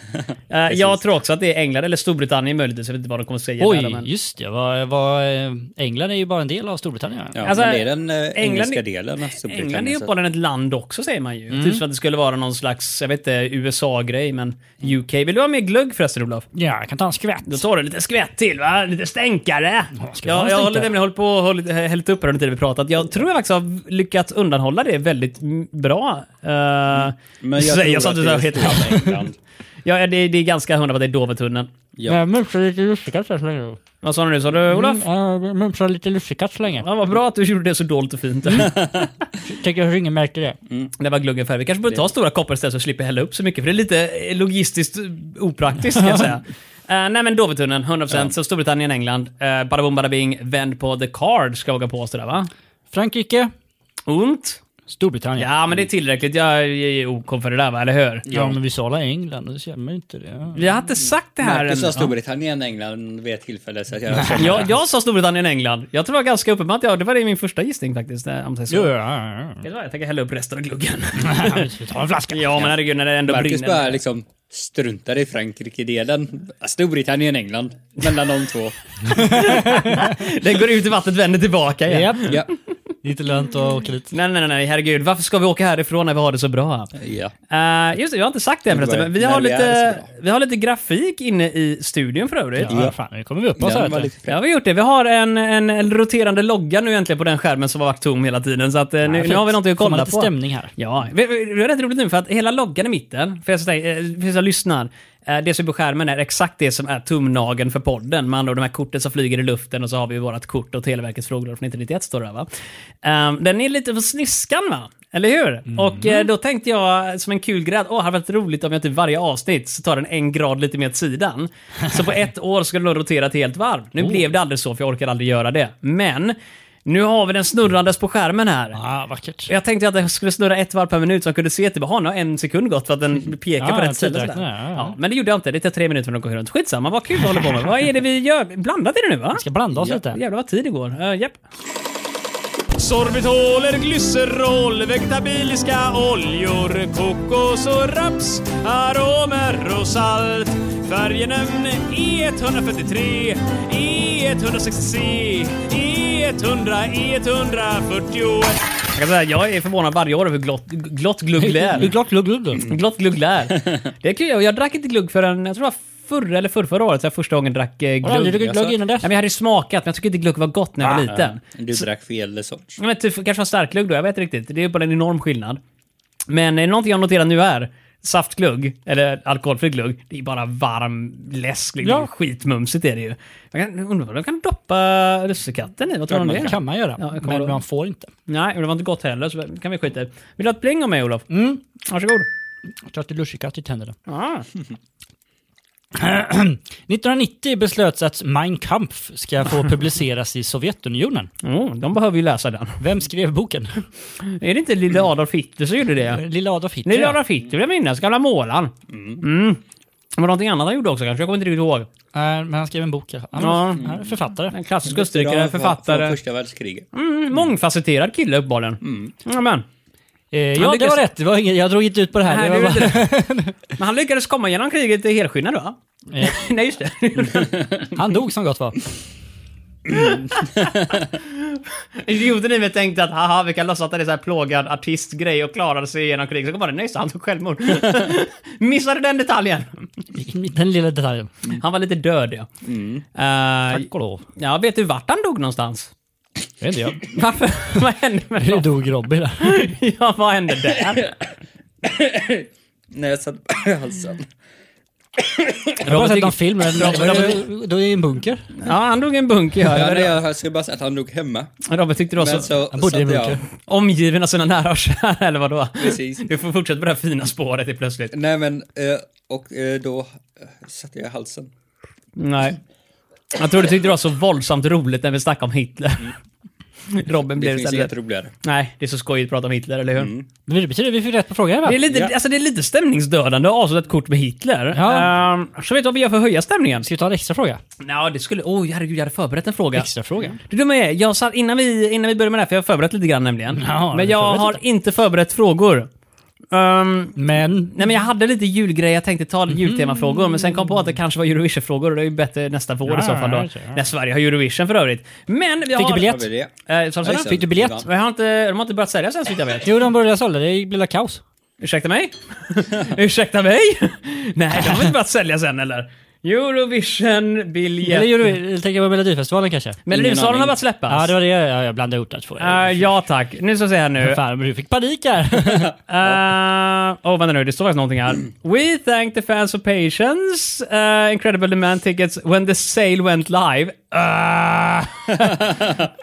Speaker 1: Eh, jag tror också att det är England eller Storbritannien möjligtvis. Jag vet inte vad de kommer säga. där,
Speaker 2: Oj,
Speaker 1: men...
Speaker 2: just det. Vad, vad, eh, England är ju bara en del av Storbritannien.
Speaker 3: Ja,
Speaker 1: Alltså,
Speaker 3: men det är den eh, engelska
Speaker 1: är-
Speaker 3: delen av
Speaker 1: England är ju
Speaker 3: Storbritannien. så- Mm.
Speaker 1: uppehållen ett land också säger man ju. Typ som att det skulle vara någon slags, jag vet inte, USA-grej, men UK. Vill du ha mer glögg förresten Olof?
Speaker 2: Ja, jag kan ta en skvätt.
Speaker 1: Då tar du lite skvätt till va? Lite stänkare!
Speaker 2: ska vi
Speaker 1: Jag,
Speaker 2: ha en
Speaker 1: jag
Speaker 2: stänkare?
Speaker 1: håller nämligen hållit på och hållit- hällt upp här under tiden vi pratat. Jag tror jag faktiskt har lyckats undanhålla det väldigt m- bra. Uh,
Speaker 3: Mm. Men jag
Speaker 1: säger
Speaker 3: tror
Speaker 1: jag så att
Speaker 3: att
Speaker 1: du
Speaker 3: det
Speaker 1: sa
Speaker 3: är
Speaker 1: helt
Speaker 3: stora England.
Speaker 1: Ja, det, det är ganska hundra på att det är Dovetunneln.
Speaker 3: Ja.
Speaker 2: Mumsa lite lussekatt så länge. Mm,
Speaker 1: Vad sa du nu? Sa du Olof?
Speaker 3: Mm.
Speaker 2: Mumsa lite lussekatt så länge.
Speaker 1: Ja, vad bra att du gjorde det så dolt och fint.
Speaker 2: Tänker hur ingen märkte det.
Speaker 1: Det var gluggen för. Vi kanske borde ta stora koppar istället så slipper hälla upp så mycket. För det är lite eh, logistiskt eh, opraktiskt kan jag säga. Eh, nej men Dovetunneln, 100%. Så Storbritannien, England. Uh, bada boom, bada bing. Vänd på the card, ska jag våga påstå där va?
Speaker 2: Frankrike,
Speaker 1: Ont?
Speaker 2: Storbritannien.
Speaker 1: Ja men det är tillräckligt. Jag är OK för det där va, eller hur?
Speaker 2: Ja, men vi sa England och det känner man ju inte det.
Speaker 1: Jag har inte sagt det här
Speaker 3: Marcus sa
Speaker 1: än.
Speaker 3: Storbritannien och England vid ett tillfälle. Så att jag känner
Speaker 1: Jag, jag sa Storbritannien, England. Jag tror jag var ganska öppen med att jag, det var det min första gissning faktiskt. eh, Om det är så.
Speaker 2: ja,
Speaker 1: Det var- Jag tänker hälla upp resten av gluggen.
Speaker 2: ja. Vi tar en flaska.
Speaker 1: ja men herregud när det ändå
Speaker 3: Marcus
Speaker 1: brinner.
Speaker 3: bara liksom struntar i Frankrike-delen. Storbritannien och England. Mellan de två.
Speaker 1: Den går ut i vattnet, vänder tillbaka igen.
Speaker 2: Japp.
Speaker 3: Ja.
Speaker 2: Det är inte lönt att åka dit.
Speaker 1: Nej, nej, nej, herregud. Varför ska vi åka härifrån när vi har det så bra?
Speaker 3: ja.
Speaker 1: Eh, just det, jag har inte sagt det än förresten, men vi
Speaker 3: Nej,
Speaker 1: har,
Speaker 3: vi är så
Speaker 1: lite,
Speaker 3: bra.
Speaker 1: vi har lite grafik inne i studion för övrigt.
Speaker 2: Ja, fan, nu kommer vi upp oss
Speaker 3: Den var
Speaker 2: här.
Speaker 3: lite
Speaker 1: Ja, vi har gjort det. Vi har en, en, en roterande logga nu egentligen på den skärmen som har varit tom hela tiden. Så att, eh, nu, nu har vi någonting att
Speaker 2: Får man
Speaker 1: kolla
Speaker 2: lite
Speaker 1: på.
Speaker 2: stämning här.
Speaker 1: Ja, vi, vi, det är rätt roligt nu för att hela loggan i mitten, för er som, tänker- eh, för er som lyssnar, eh, det som är på skärmen är exakt det som är tumnageln för podden. Med andra ord, de här korten som flyger i luften och så har vi vårt kort och Televerkets frågor från 1991 står det här, va? Ehm, den är lite på sniskan va? Eller hur?
Speaker 2: Mm.
Speaker 1: Och eh, då tänkte jag som en kul grej, att, åh, det hade varit roligt om jag typ varje avsnitt så tar den en grad lite mer åt sidan. Så på ett år skulle den rotera ett helt varv.
Speaker 2: Oh.
Speaker 1: Nu blev det aldrig så, för jag orkar aldrig göra det. Men nu har vi den snurrandes på skärmen här.
Speaker 2: Ja, vackert.
Speaker 1: Jag tänkte att jag skulle snurra ett varv per minut så jag kunde se typ, jaha, nu har en sekund gått för att den pekar
Speaker 2: Ja,
Speaker 1: på
Speaker 2: en
Speaker 1: rätt ställe.
Speaker 2: tidräknare,
Speaker 1: sådär.
Speaker 2: ja, ja.
Speaker 1: Ja, men det gjorde jag inte. Det tar tre minuter för att gå runt. Skitsamma, vad kul vi håller på med. Vad är det vi gör? Blandat är det nu va?
Speaker 2: Vi ska blanda oss lite.
Speaker 1: Jävlar vad tid det går. Uh, japp. Sorbitoler, glycerol, vegetabiliska oljor, kokos och raps, aromer och salt. E Färgenämn E143, E E160C, E E100, E141. Jag kan säga, jag är förvånad varje år över glott, glott glugg det är.
Speaker 2: Glott, glugg, glugg.
Speaker 1: Mm. Glott glugg där. Det är kul. Jag- Jag drack inte glugg förrän, jag tror det var förra eller förra, förra året, så jag första gången drack eh,
Speaker 2: Har du
Speaker 1: glugg.
Speaker 2: aldrig druckit glögg innan
Speaker 1: Nej,
Speaker 2: dess? Ah,
Speaker 1: men jag hade ju smakat, men jag tyckte inte glugg var gott när jag var liten.
Speaker 3: Du drack fel sorts.
Speaker 1: Ja, Men typ, kanske var starklugg då, jag vet inte riktigt. Det är bara en enorm skillnad. Men eh, någonting jag noterar nu är, saftglugg, eller alkoholfri glugg, det är bara varm läsk. Liksom.
Speaker 2: Ja.
Speaker 1: Skitmumsigt är det ju. Jag kan, undrar vad de kan doppa lussekatten i? Vad tror du om det?
Speaker 2: Det kan man göra,
Speaker 1: Mm. Ja, jag kommer
Speaker 2: men
Speaker 1: ihåg.
Speaker 2: man får inte.
Speaker 1: Nej, men det var inte gott heller, så det kan vi skita i. Vill du ha ett pling av mig, Olof? Mm. Varsågod.
Speaker 2: Jag tror att det är lussekatt i tänderna.
Speaker 1: Ah.
Speaker 2: 1990 beslöts att Mein Kampf ska få publiceras i Sovjetunionen.
Speaker 1: Mm, de behöver ju läsa den.
Speaker 2: Vem skrev boken?
Speaker 1: Är det inte lille
Speaker 2: Mm.
Speaker 1: Adolf Hitler som gjorde det?
Speaker 2: Lilla Adolf Hitler.
Speaker 1: Lille Adolf Hitler vill jag minnas, gamla målaren. Mm. Det var någonting annat han gjorde också kanske, jag kommer inte riktigt ihåg.
Speaker 2: Nej, Eh, men han skrev en bok i alla fall.
Speaker 1: Ja.
Speaker 2: Han är författare.
Speaker 1: En klassisk österrikare, författare.
Speaker 3: Från första världskriget.
Speaker 1: Mm, mångfacetterad kille uppenbarligen.
Speaker 2: Mm.
Speaker 1: Amen.
Speaker 2: Eh, ja, det
Speaker 1: lyckas-
Speaker 2: var rätt. Det var inget, jag drog inte ut på det här.
Speaker 1: Nej,
Speaker 2: det
Speaker 1: det
Speaker 2: var
Speaker 1: gjorde Men han lyckades komma igenom kriget helskinnad va?
Speaker 2: Eh,
Speaker 1: Nej just det.
Speaker 2: han dog som gott var.
Speaker 1: Idioten i mig tänkte att haha vi kan låtsas att det är så här plågad artistgrej och klarade sig igenom kriget. Så kom bara nej så han tog självmord. Missade den detaljen.
Speaker 2: Den lilla detaljen.
Speaker 1: Han var lite död ja.
Speaker 2: Mm.
Speaker 1: Eh,
Speaker 2: Tack och lov.
Speaker 1: ja, vet du vart han dog någonstans?
Speaker 2: Det är inte jag.
Speaker 1: Varför? vad hände med
Speaker 2: Hur
Speaker 1: honom?
Speaker 2: dog Robbie där?
Speaker 1: Ja, vad hände där?
Speaker 3: När jag satt alltså. på halsen.
Speaker 2: Jag har bara sett
Speaker 1: tycker-
Speaker 2: någon film. men-
Speaker 1: Robert-
Speaker 2: Då är det i en bunker.
Speaker 1: Ja, han dog i en bunker.
Speaker 3: Ja,
Speaker 1: Ja.
Speaker 3: det jag, jag skulle bara säga att han dog hemma.
Speaker 1: Robert tyckte då så...
Speaker 3: Men så
Speaker 2: Han bodde i en
Speaker 3: satt jag-
Speaker 2: bunker.
Speaker 1: Omgiven av sina nära och kära, eller vadå?
Speaker 3: Precis.
Speaker 1: Du får fortsätta på det här fina spåret helt plötsligt.
Speaker 3: Nej men, eh, och eh, då eh, satte jag i halsen.
Speaker 1: Nej. Jag tror du tyckte det var så våldsamt roligt när vi snackade om Hitler. Robin
Speaker 3: Mm. Det
Speaker 1: blev
Speaker 3: finns
Speaker 1: istället...
Speaker 3: inget roligare.
Speaker 1: Nej, det är så skojigt att prata om Hitler, eller hur?
Speaker 2: Men det betyder att vi fick rätt på frågan va?
Speaker 1: Det är lite,
Speaker 3: Ja.
Speaker 1: alltså, det är lite stämningsdödande att avsluta ett kort med Hitler.
Speaker 2: Ja.
Speaker 1: Ehm, så vet du vad vi gör för att höja stämningen?
Speaker 2: Ska vi ta en extra fråga?
Speaker 1: Ja, det skulle... Oj, oh, herregud, jag hade förberett en fråga.
Speaker 2: Extra fråga.
Speaker 1: Det dumma är, jag satt, innan, vi, innan vi började med det här, för jag har förberett lite grann nämligen.
Speaker 2: Jaha, har
Speaker 1: men
Speaker 2: du
Speaker 1: jag
Speaker 2: förberett
Speaker 1: har
Speaker 2: lite?
Speaker 1: inte förberett frågor. Ehm,
Speaker 2: Men...
Speaker 1: nej men jag hade lite julgrejer, jag tänkte
Speaker 2: Mhm.
Speaker 1: ta jultemafrågor, men sen kom på att det kanske var Eurovision-frågor och det är ju bättre nästa vår i så
Speaker 2: Ja,
Speaker 1: fall då.
Speaker 2: ja, ja.
Speaker 1: När Sverige har Eurovision för övrigt. Men jag
Speaker 2: Fick
Speaker 1: har...
Speaker 2: du biljett?
Speaker 3: Har vi det?
Speaker 1: Eh, sa du
Speaker 3: Ja,
Speaker 1: sådär?
Speaker 3: just det.
Speaker 2: Fick du biljett?
Speaker 3: Vi vann.
Speaker 1: Men jag har inte, de har inte börjat sälja sen såvitt jag vet.
Speaker 2: Jo, de började sålda. Det blev kaos.
Speaker 1: Ursäkta mig? Ursäkta mig? Nej, de har inte börjat sälja sen eller? Eurovision-biljett.
Speaker 2: Eller gjorde vi- eller tänker jag på Melodifestivalen kanske?
Speaker 1: Melodifestivalen har
Speaker 3: aning.
Speaker 1: börjat släppas.
Speaker 2: Ja, det var det jag, jag blandade ihop där två.
Speaker 1: Eh, ja tack. Nu ska vi se här nu.
Speaker 2: Fan, men du fick panik här.
Speaker 1: Uh, oh, vänta nu, det står faktiskt någonting här. We thank the fans for patience, uh, incredible demand tickets when the sale went live.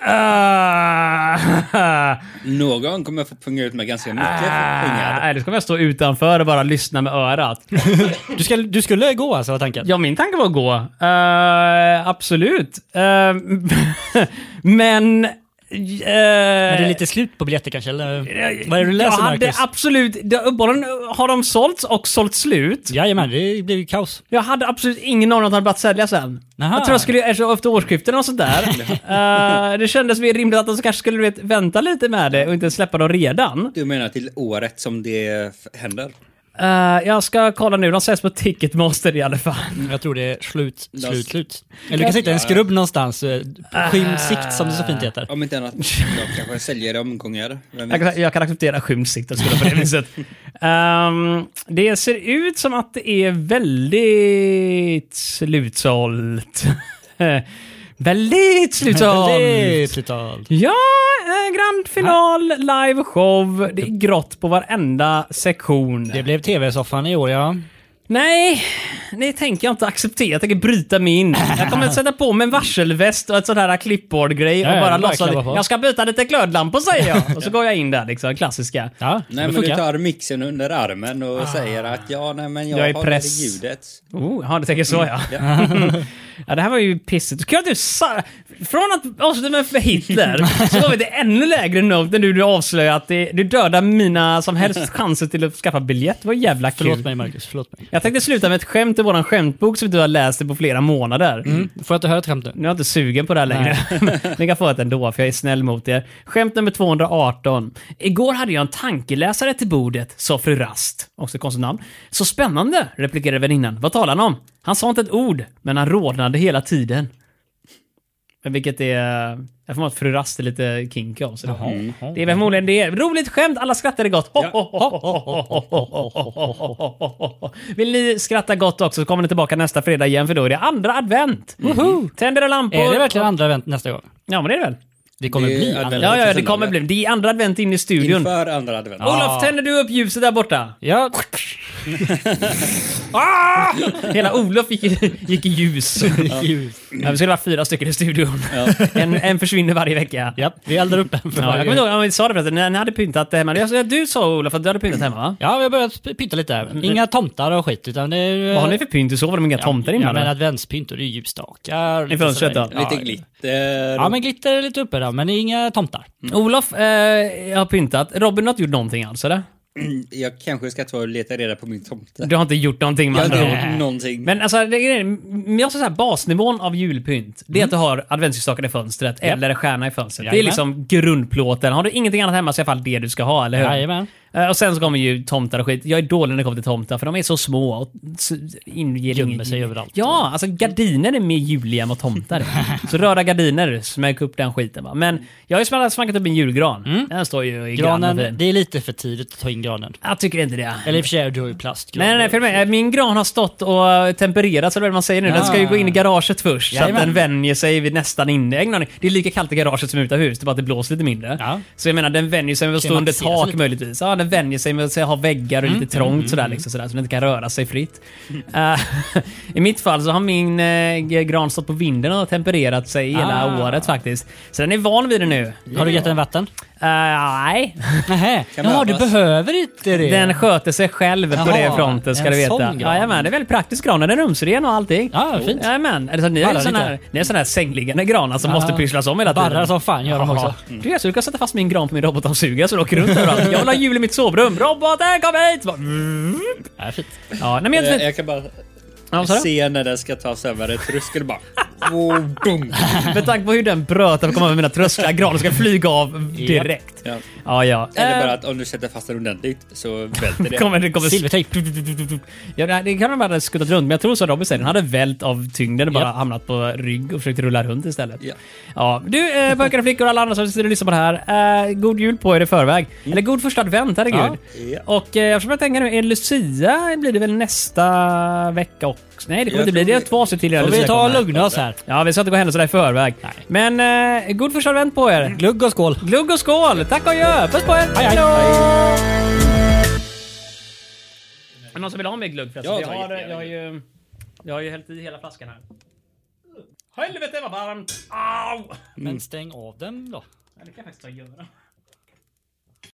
Speaker 1: Eh. Uh, uh,
Speaker 3: Någon kommer få punga ut med ganska mycket
Speaker 1: Ah.
Speaker 3: pengar.
Speaker 1: Nej, Eh, det ska jag stå utanför och bara lyssna med örat.
Speaker 2: Du, ska, du skulle gå alltså, var tanken?
Speaker 1: Ja, min tanke var att gå. Eh, absolut. Eh, men... eh,
Speaker 2: Men det är lite slut på biljetter kanske, eller? Vad är det du
Speaker 1: jag
Speaker 2: läser,
Speaker 1: hade
Speaker 2: Marcus?
Speaker 1: absolut... det- Uppenbarligen har de sålts och sålt slut.
Speaker 2: Jajamän, det blev ju kaos.
Speaker 1: Jag hade absolut ingen aning om att han börjat sälja sen.
Speaker 2: Aha.
Speaker 1: Jag tror jag skulle, alltså, efter årsskiftet eller något sånt där. Eh, det kändes mer rimligt att de kanske skulle du vet, vänta lite med det och inte släppa dem redan.
Speaker 3: Du menar till året som det f- händer?
Speaker 1: Eh, jag ska kolla nu, de säljs på Ticketmaster i alla fall.
Speaker 2: Jag tror det är slut, slut,
Speaker 3: Last-
Speaker 2: slut. Eller du kan sitta i en skrubb någonstans, eh, skymd sikt som det så fint heter.
Speaker 3: Om inte annat, de kanske säljer i omgångar. Vem
Speaker 1: Jag
Speaker 3: vet?
Speaker 1: kan, jag kan acceptera skymd sikt om det skulle vara på det viset. Ehm, det ser ut som att det är väldigt slutsålt. väldigt slutsålt!
Speaker 2: Väldigt totalt.
Speaker 1: Ja, eh, grand final, live show. Det är grått på varenda sektion.
Speaker 2: Det blev tv-soffan i år ja.
Speaker 1: Nej, det tänker jag inte acceptera. Jag tänker bryta mig in. Jag kommer att sätta på mig en varselväst och ett sånt här clipboard-grej och
Speaker 2: Ja, ja,
Speaker 1: bara
Speaker 2: det bara
Speaker 1: låtsas.
Speaker 2: klappa på.
Speaker 1: Jag ska byta lite glödlampor säger jag. Och så går jag in där liksom, klassiska.
Speaker 2: Ja,
Speaker 3: Nej
Speaker 2: det
Speaker 3: men du
Speaker 2: funkar.
Speaker 3: tar mixen under armen och säger att ja, nej men jag,
Speaker 1: Ah. Jag är
Speaker 3: har
Speaker 1: press.
Speaker 3: det ljudet.
Speaker 1: Oh, ja, du tänker så ja. ja. Det här var ju pissigt. Kul att du sa... Från att avsluta med för Hitler så var vi till ännu lägre note när du, du avslöjade att det, du dödar mina som helst chanser till att skaffa biljett. Det var jävla kul.
Speaker 2: Förlåt mig Marcus, förlåt mig.
Speaker 1: Jag tänkte sluta med ett skämt i våran skämtbok som du har läst i på flera månader.
Speaker 2: Får jag inte höra ett skämt nu?
Speaker 1: Nu är jag inte sugen på det här längre. Ni kan få ett ändå, för jag är snäll mot er. Skämt nummer 218. Igår hade jag en tankeläsare till bordet, sa fru Rast. Också konstigt namn. Så spännande, replikerade väninnan. Vad talar han om? Han sa inte ett ord, men han rodnade hela tiden. Men vilket är... Jag får att fru Rast är lite kinky av sig. då.
Speaker 2: Mm.
Speaker 1: Det är väl förmodligen det. Roligt skämt, alla skrattade gott. Ho, ho, ho, ho, ho, ho, ho, ho, ho, ho, ho, ho, ho. Vill ni skratta gott också så kommer ni tillbaka nästa fredag igen för då är det andra advent.
Speaker 2: Mm. Woho!
Speaker 1: Tänder och lampor.
Speaker 2: Är det verkligen andra event nästa gång?
Speaker 1: Ja, men det är det väl?
Speaker 2: Det kommer
Speaker 3: Det är
Speaker 2: bli
Speaker 3: advent.
Speaker 2: andra.
Speaker 1: Ja, ja, det
Speaker 3: Precis,
Speaker 1: kommer
Speaker 3: eller?
Speaker 1: bli. Det är andra advent in i studion.
Speaker 3: Inför andra advent.
Speaker 1: Olof, tänder du upp ljuset där borta?
Speaker 2: Ja,
Speaker 1: Hela Olof gick, i- gick i ljus. ja, vi skulle vara fyra stycken i studion. en, en försvinner varje vecka.
Speaker 2: ja vi eldar upp den för
Speaker 1: Ja, jag
Speaker 2: varje
Speaker 1: kommer inte ihåg, ja, vi sa det förresten, ni, ni hade pyntat hemma. Jag, jag- du sa Olof att du hade pyntat hemma va?
Speaker 2: Ja, vi har börjat pynta lite här. Inga tomtar och skit, utan det är...
Speaker 1: Mm. Vad har ni för pynt? Du sover med inga tomtar
Speaker 2: Ja,
Speaker 1: innan?
Speaker 2: men
Speaker 1: eller?
Speaker 2: adventspynt och det är ljusstakar. lite
Speaker 1: fönstret
Speaker 2: sådär.
Speaker 1: då?
Speaker 2: Ja,
Speaker 3: Lite glitter.
Speaker 2: Ja, men glitter är lite uppe där, men det är inga tomtar.
Speaker 1: Olof eh, har pyntat. Robin har inte gjort någonting alls eller?
Speaker 3: Jag kanske ska ta och leta reda på min tomte.
Speaker 1: Du har inte gjort någonting med
Speaker 3: Jag har
Speaker 1: andra ord.
Speaker 3: inte gjort någonting.
Speaker 1: Men alltså, det är, grejen. jag säga så här, basnivån av julpynt, det är att du har adventsljusstaken i fönstret eller en stjärna i fönstret. Det är
Speaker 2: Mm. Jajamän.
Speaker 1: liksom grundplåten. Har du ingenting annat hemma så är det i alla fall det du ska ha, eller hur?
Speaker 2: Jajamän.
Speaker 1: Eh, Och sen så kommer ju tomtar och skit. Jag är dålig när det kommer till tomtar för de är så små och s- inger
Speaker 2: Gömmer
Speaker 1: ingen-
Speaker 2: sig överallt.
Speaker 1: Ja, alltså gardiner är mer juliga än vad tomtar är. så röda gardiner, smäck upp den skiten va. Men jag har ju smack- smakat upp en julgran. Den står ju i grannen.
Speaker 2: Mm. Granen,
Speaker 1: Fin.
Speaker 2: det är lite för tidigt att ta in granen.
Speaker 1: Jag tycker inte det.
Speaker 2: Eller i och för sig, du har ju plastgran.
Speaker 1: Nej, nej, för mig, min gran har stått och tempererats, eller vad man säger nu. Den ska ju gå in i garaget först, så att den
Speaker 2: Jajamän.
Speaker 1: vänjer sig vid nästan inne. Det är lika kallt i garaget som utomhus, det är bara att det blåser lite mindre.
Speaker 2: Ja.
Speaker 1: Så jag menar, den vänjer sig med att stå under
Speaker 2: Klimatisera sig
Speaker 1: tak
Speaker 2: lite. Mm.
Speaker 1: möjligtvis. Ja, den vänjer sig med att ha väggar och lite trångt sådär, liksom, sådär, så den inte kan röra sig fritt. Eh, I mitt fall så har min eh, gran stått på vinden och tempererat sig hela
Speaker 2: Ah.
Speaker 1: året faktiskt. Så den är van vid det nu.
Speaker 2: Har du gett den vatten?
Speaker 1: Eh, nej,
Speaker 2: Nähä.
Speaker 3: Kan
Speaker 2: Jaha, du
Speaker 3: behövas.
Speaker 2: behöver inte det.
Speaker 1: Den sköter sig själv på
Speaker 2: Jaha,
Speaker 1: det fronten ska
Speaker 2: en
Speaker 1: du veta.
Speaker 2: sån gran.
Speaker 1: Jajamän, det är väldigt praktiskt gran. Den är rumsren och allting.
Speaker 2: Ja, vad fint.
Speaker 1: Jajamän. Är det så att ni har
Speaker 2: Ballar
Speaker 1: sådana här,
Speaker 2: lite.
Speaker 1: ni har såna här sängliggande granar som måste pysslas om hela tiden?
Speaker 2: Barrar som fan gör de
Speaker 1: Ja.
Speaker 2: också.
Speaker 1: Du, jag skulle kunna sätta fast min gran på min robotdammsugare så den åker runt överallt. Jag vill ha hjul i mitt sovrum. Roboten, kom hit! Bara, vroom.
Speaker 2: Ja, fint.
Speaker 1: Ja, nej, men,
Speaker 3: jag,
Speaker 1: jag,
Speaker 3: Eh, jag kan bara
Speaker 1: ja, så
Speaker 3: se när den ska tas över ett tröskel bara. Oh, dum.
Speaker 1: med tanke på hur den bröt att komma över mina trösklar, granen ska flyga av direkt.
Speaker 3: Ja.
Speaker 1: Ja, ja.
Speaker 3: Eller
Speaker 1: Eh,
Speaker 3: bara att om du sätter fast den ordentligt så välter det.
Speaker 1: Kommer, det kommer
Speaker 2: Silvertejp.
Speaker 1: Ja, det- det kan de bara ha skuttat runt, men jag tror som Robin säger, den hade vält av tyngden och bara
Speaker 2: Ja.
Speaker 1: hamnat på rygg och försökt rulla runt istället.
Speaker 3: Ja.
Speaker 1: Ja, du eh, pojkar och flickor och alla andra som sitter och lyssnar på det här. Eh, god jul på er i förväg. Eller god första advent, herregud.
Speaker 3: Ja.
Speaker 1: Och eh, jag försöker tänka nu, är Lucia blir det väl nästa vecka också? Nej, det kommer
Speaker 3: Jag
Speaker 1: inte bli.
Speaker 3: tror
Speaker 1: Det är
Speaker 3: det-
Speaker 1: två avsnitt till innan
Speaker 2: Får
Speaker 1: Lucia
Speaker 2: vi ta och
Speaker 1: kommer.
Speaker 2: lugna oss här?
Speaker 1: Ja, vi ska inte gå händelserna i förväg.
Speaker 2: Nej.
Speaker 1: Men eh, god första advent på er.
Speaker 2: Glugg och skål.
Speaker 1: Glugg och skål! Tack och adjö! Puss på er!
Speaker 2: Hej, hej.
Speaker 1: Är det någon som vill ha mer glögg förresten?
Speaker 3: Jag har
Speaker 1: Jag, har,
Speaker 3: tagit det,
Speaker 1: jag, har ju, jag har ju hällt i hela flaskan här. Helvete vad varmt! Au!
Speaker 2: Men stäng av den då.
Speaker 1: Ja, Det kan jag faktiskt ta och göra.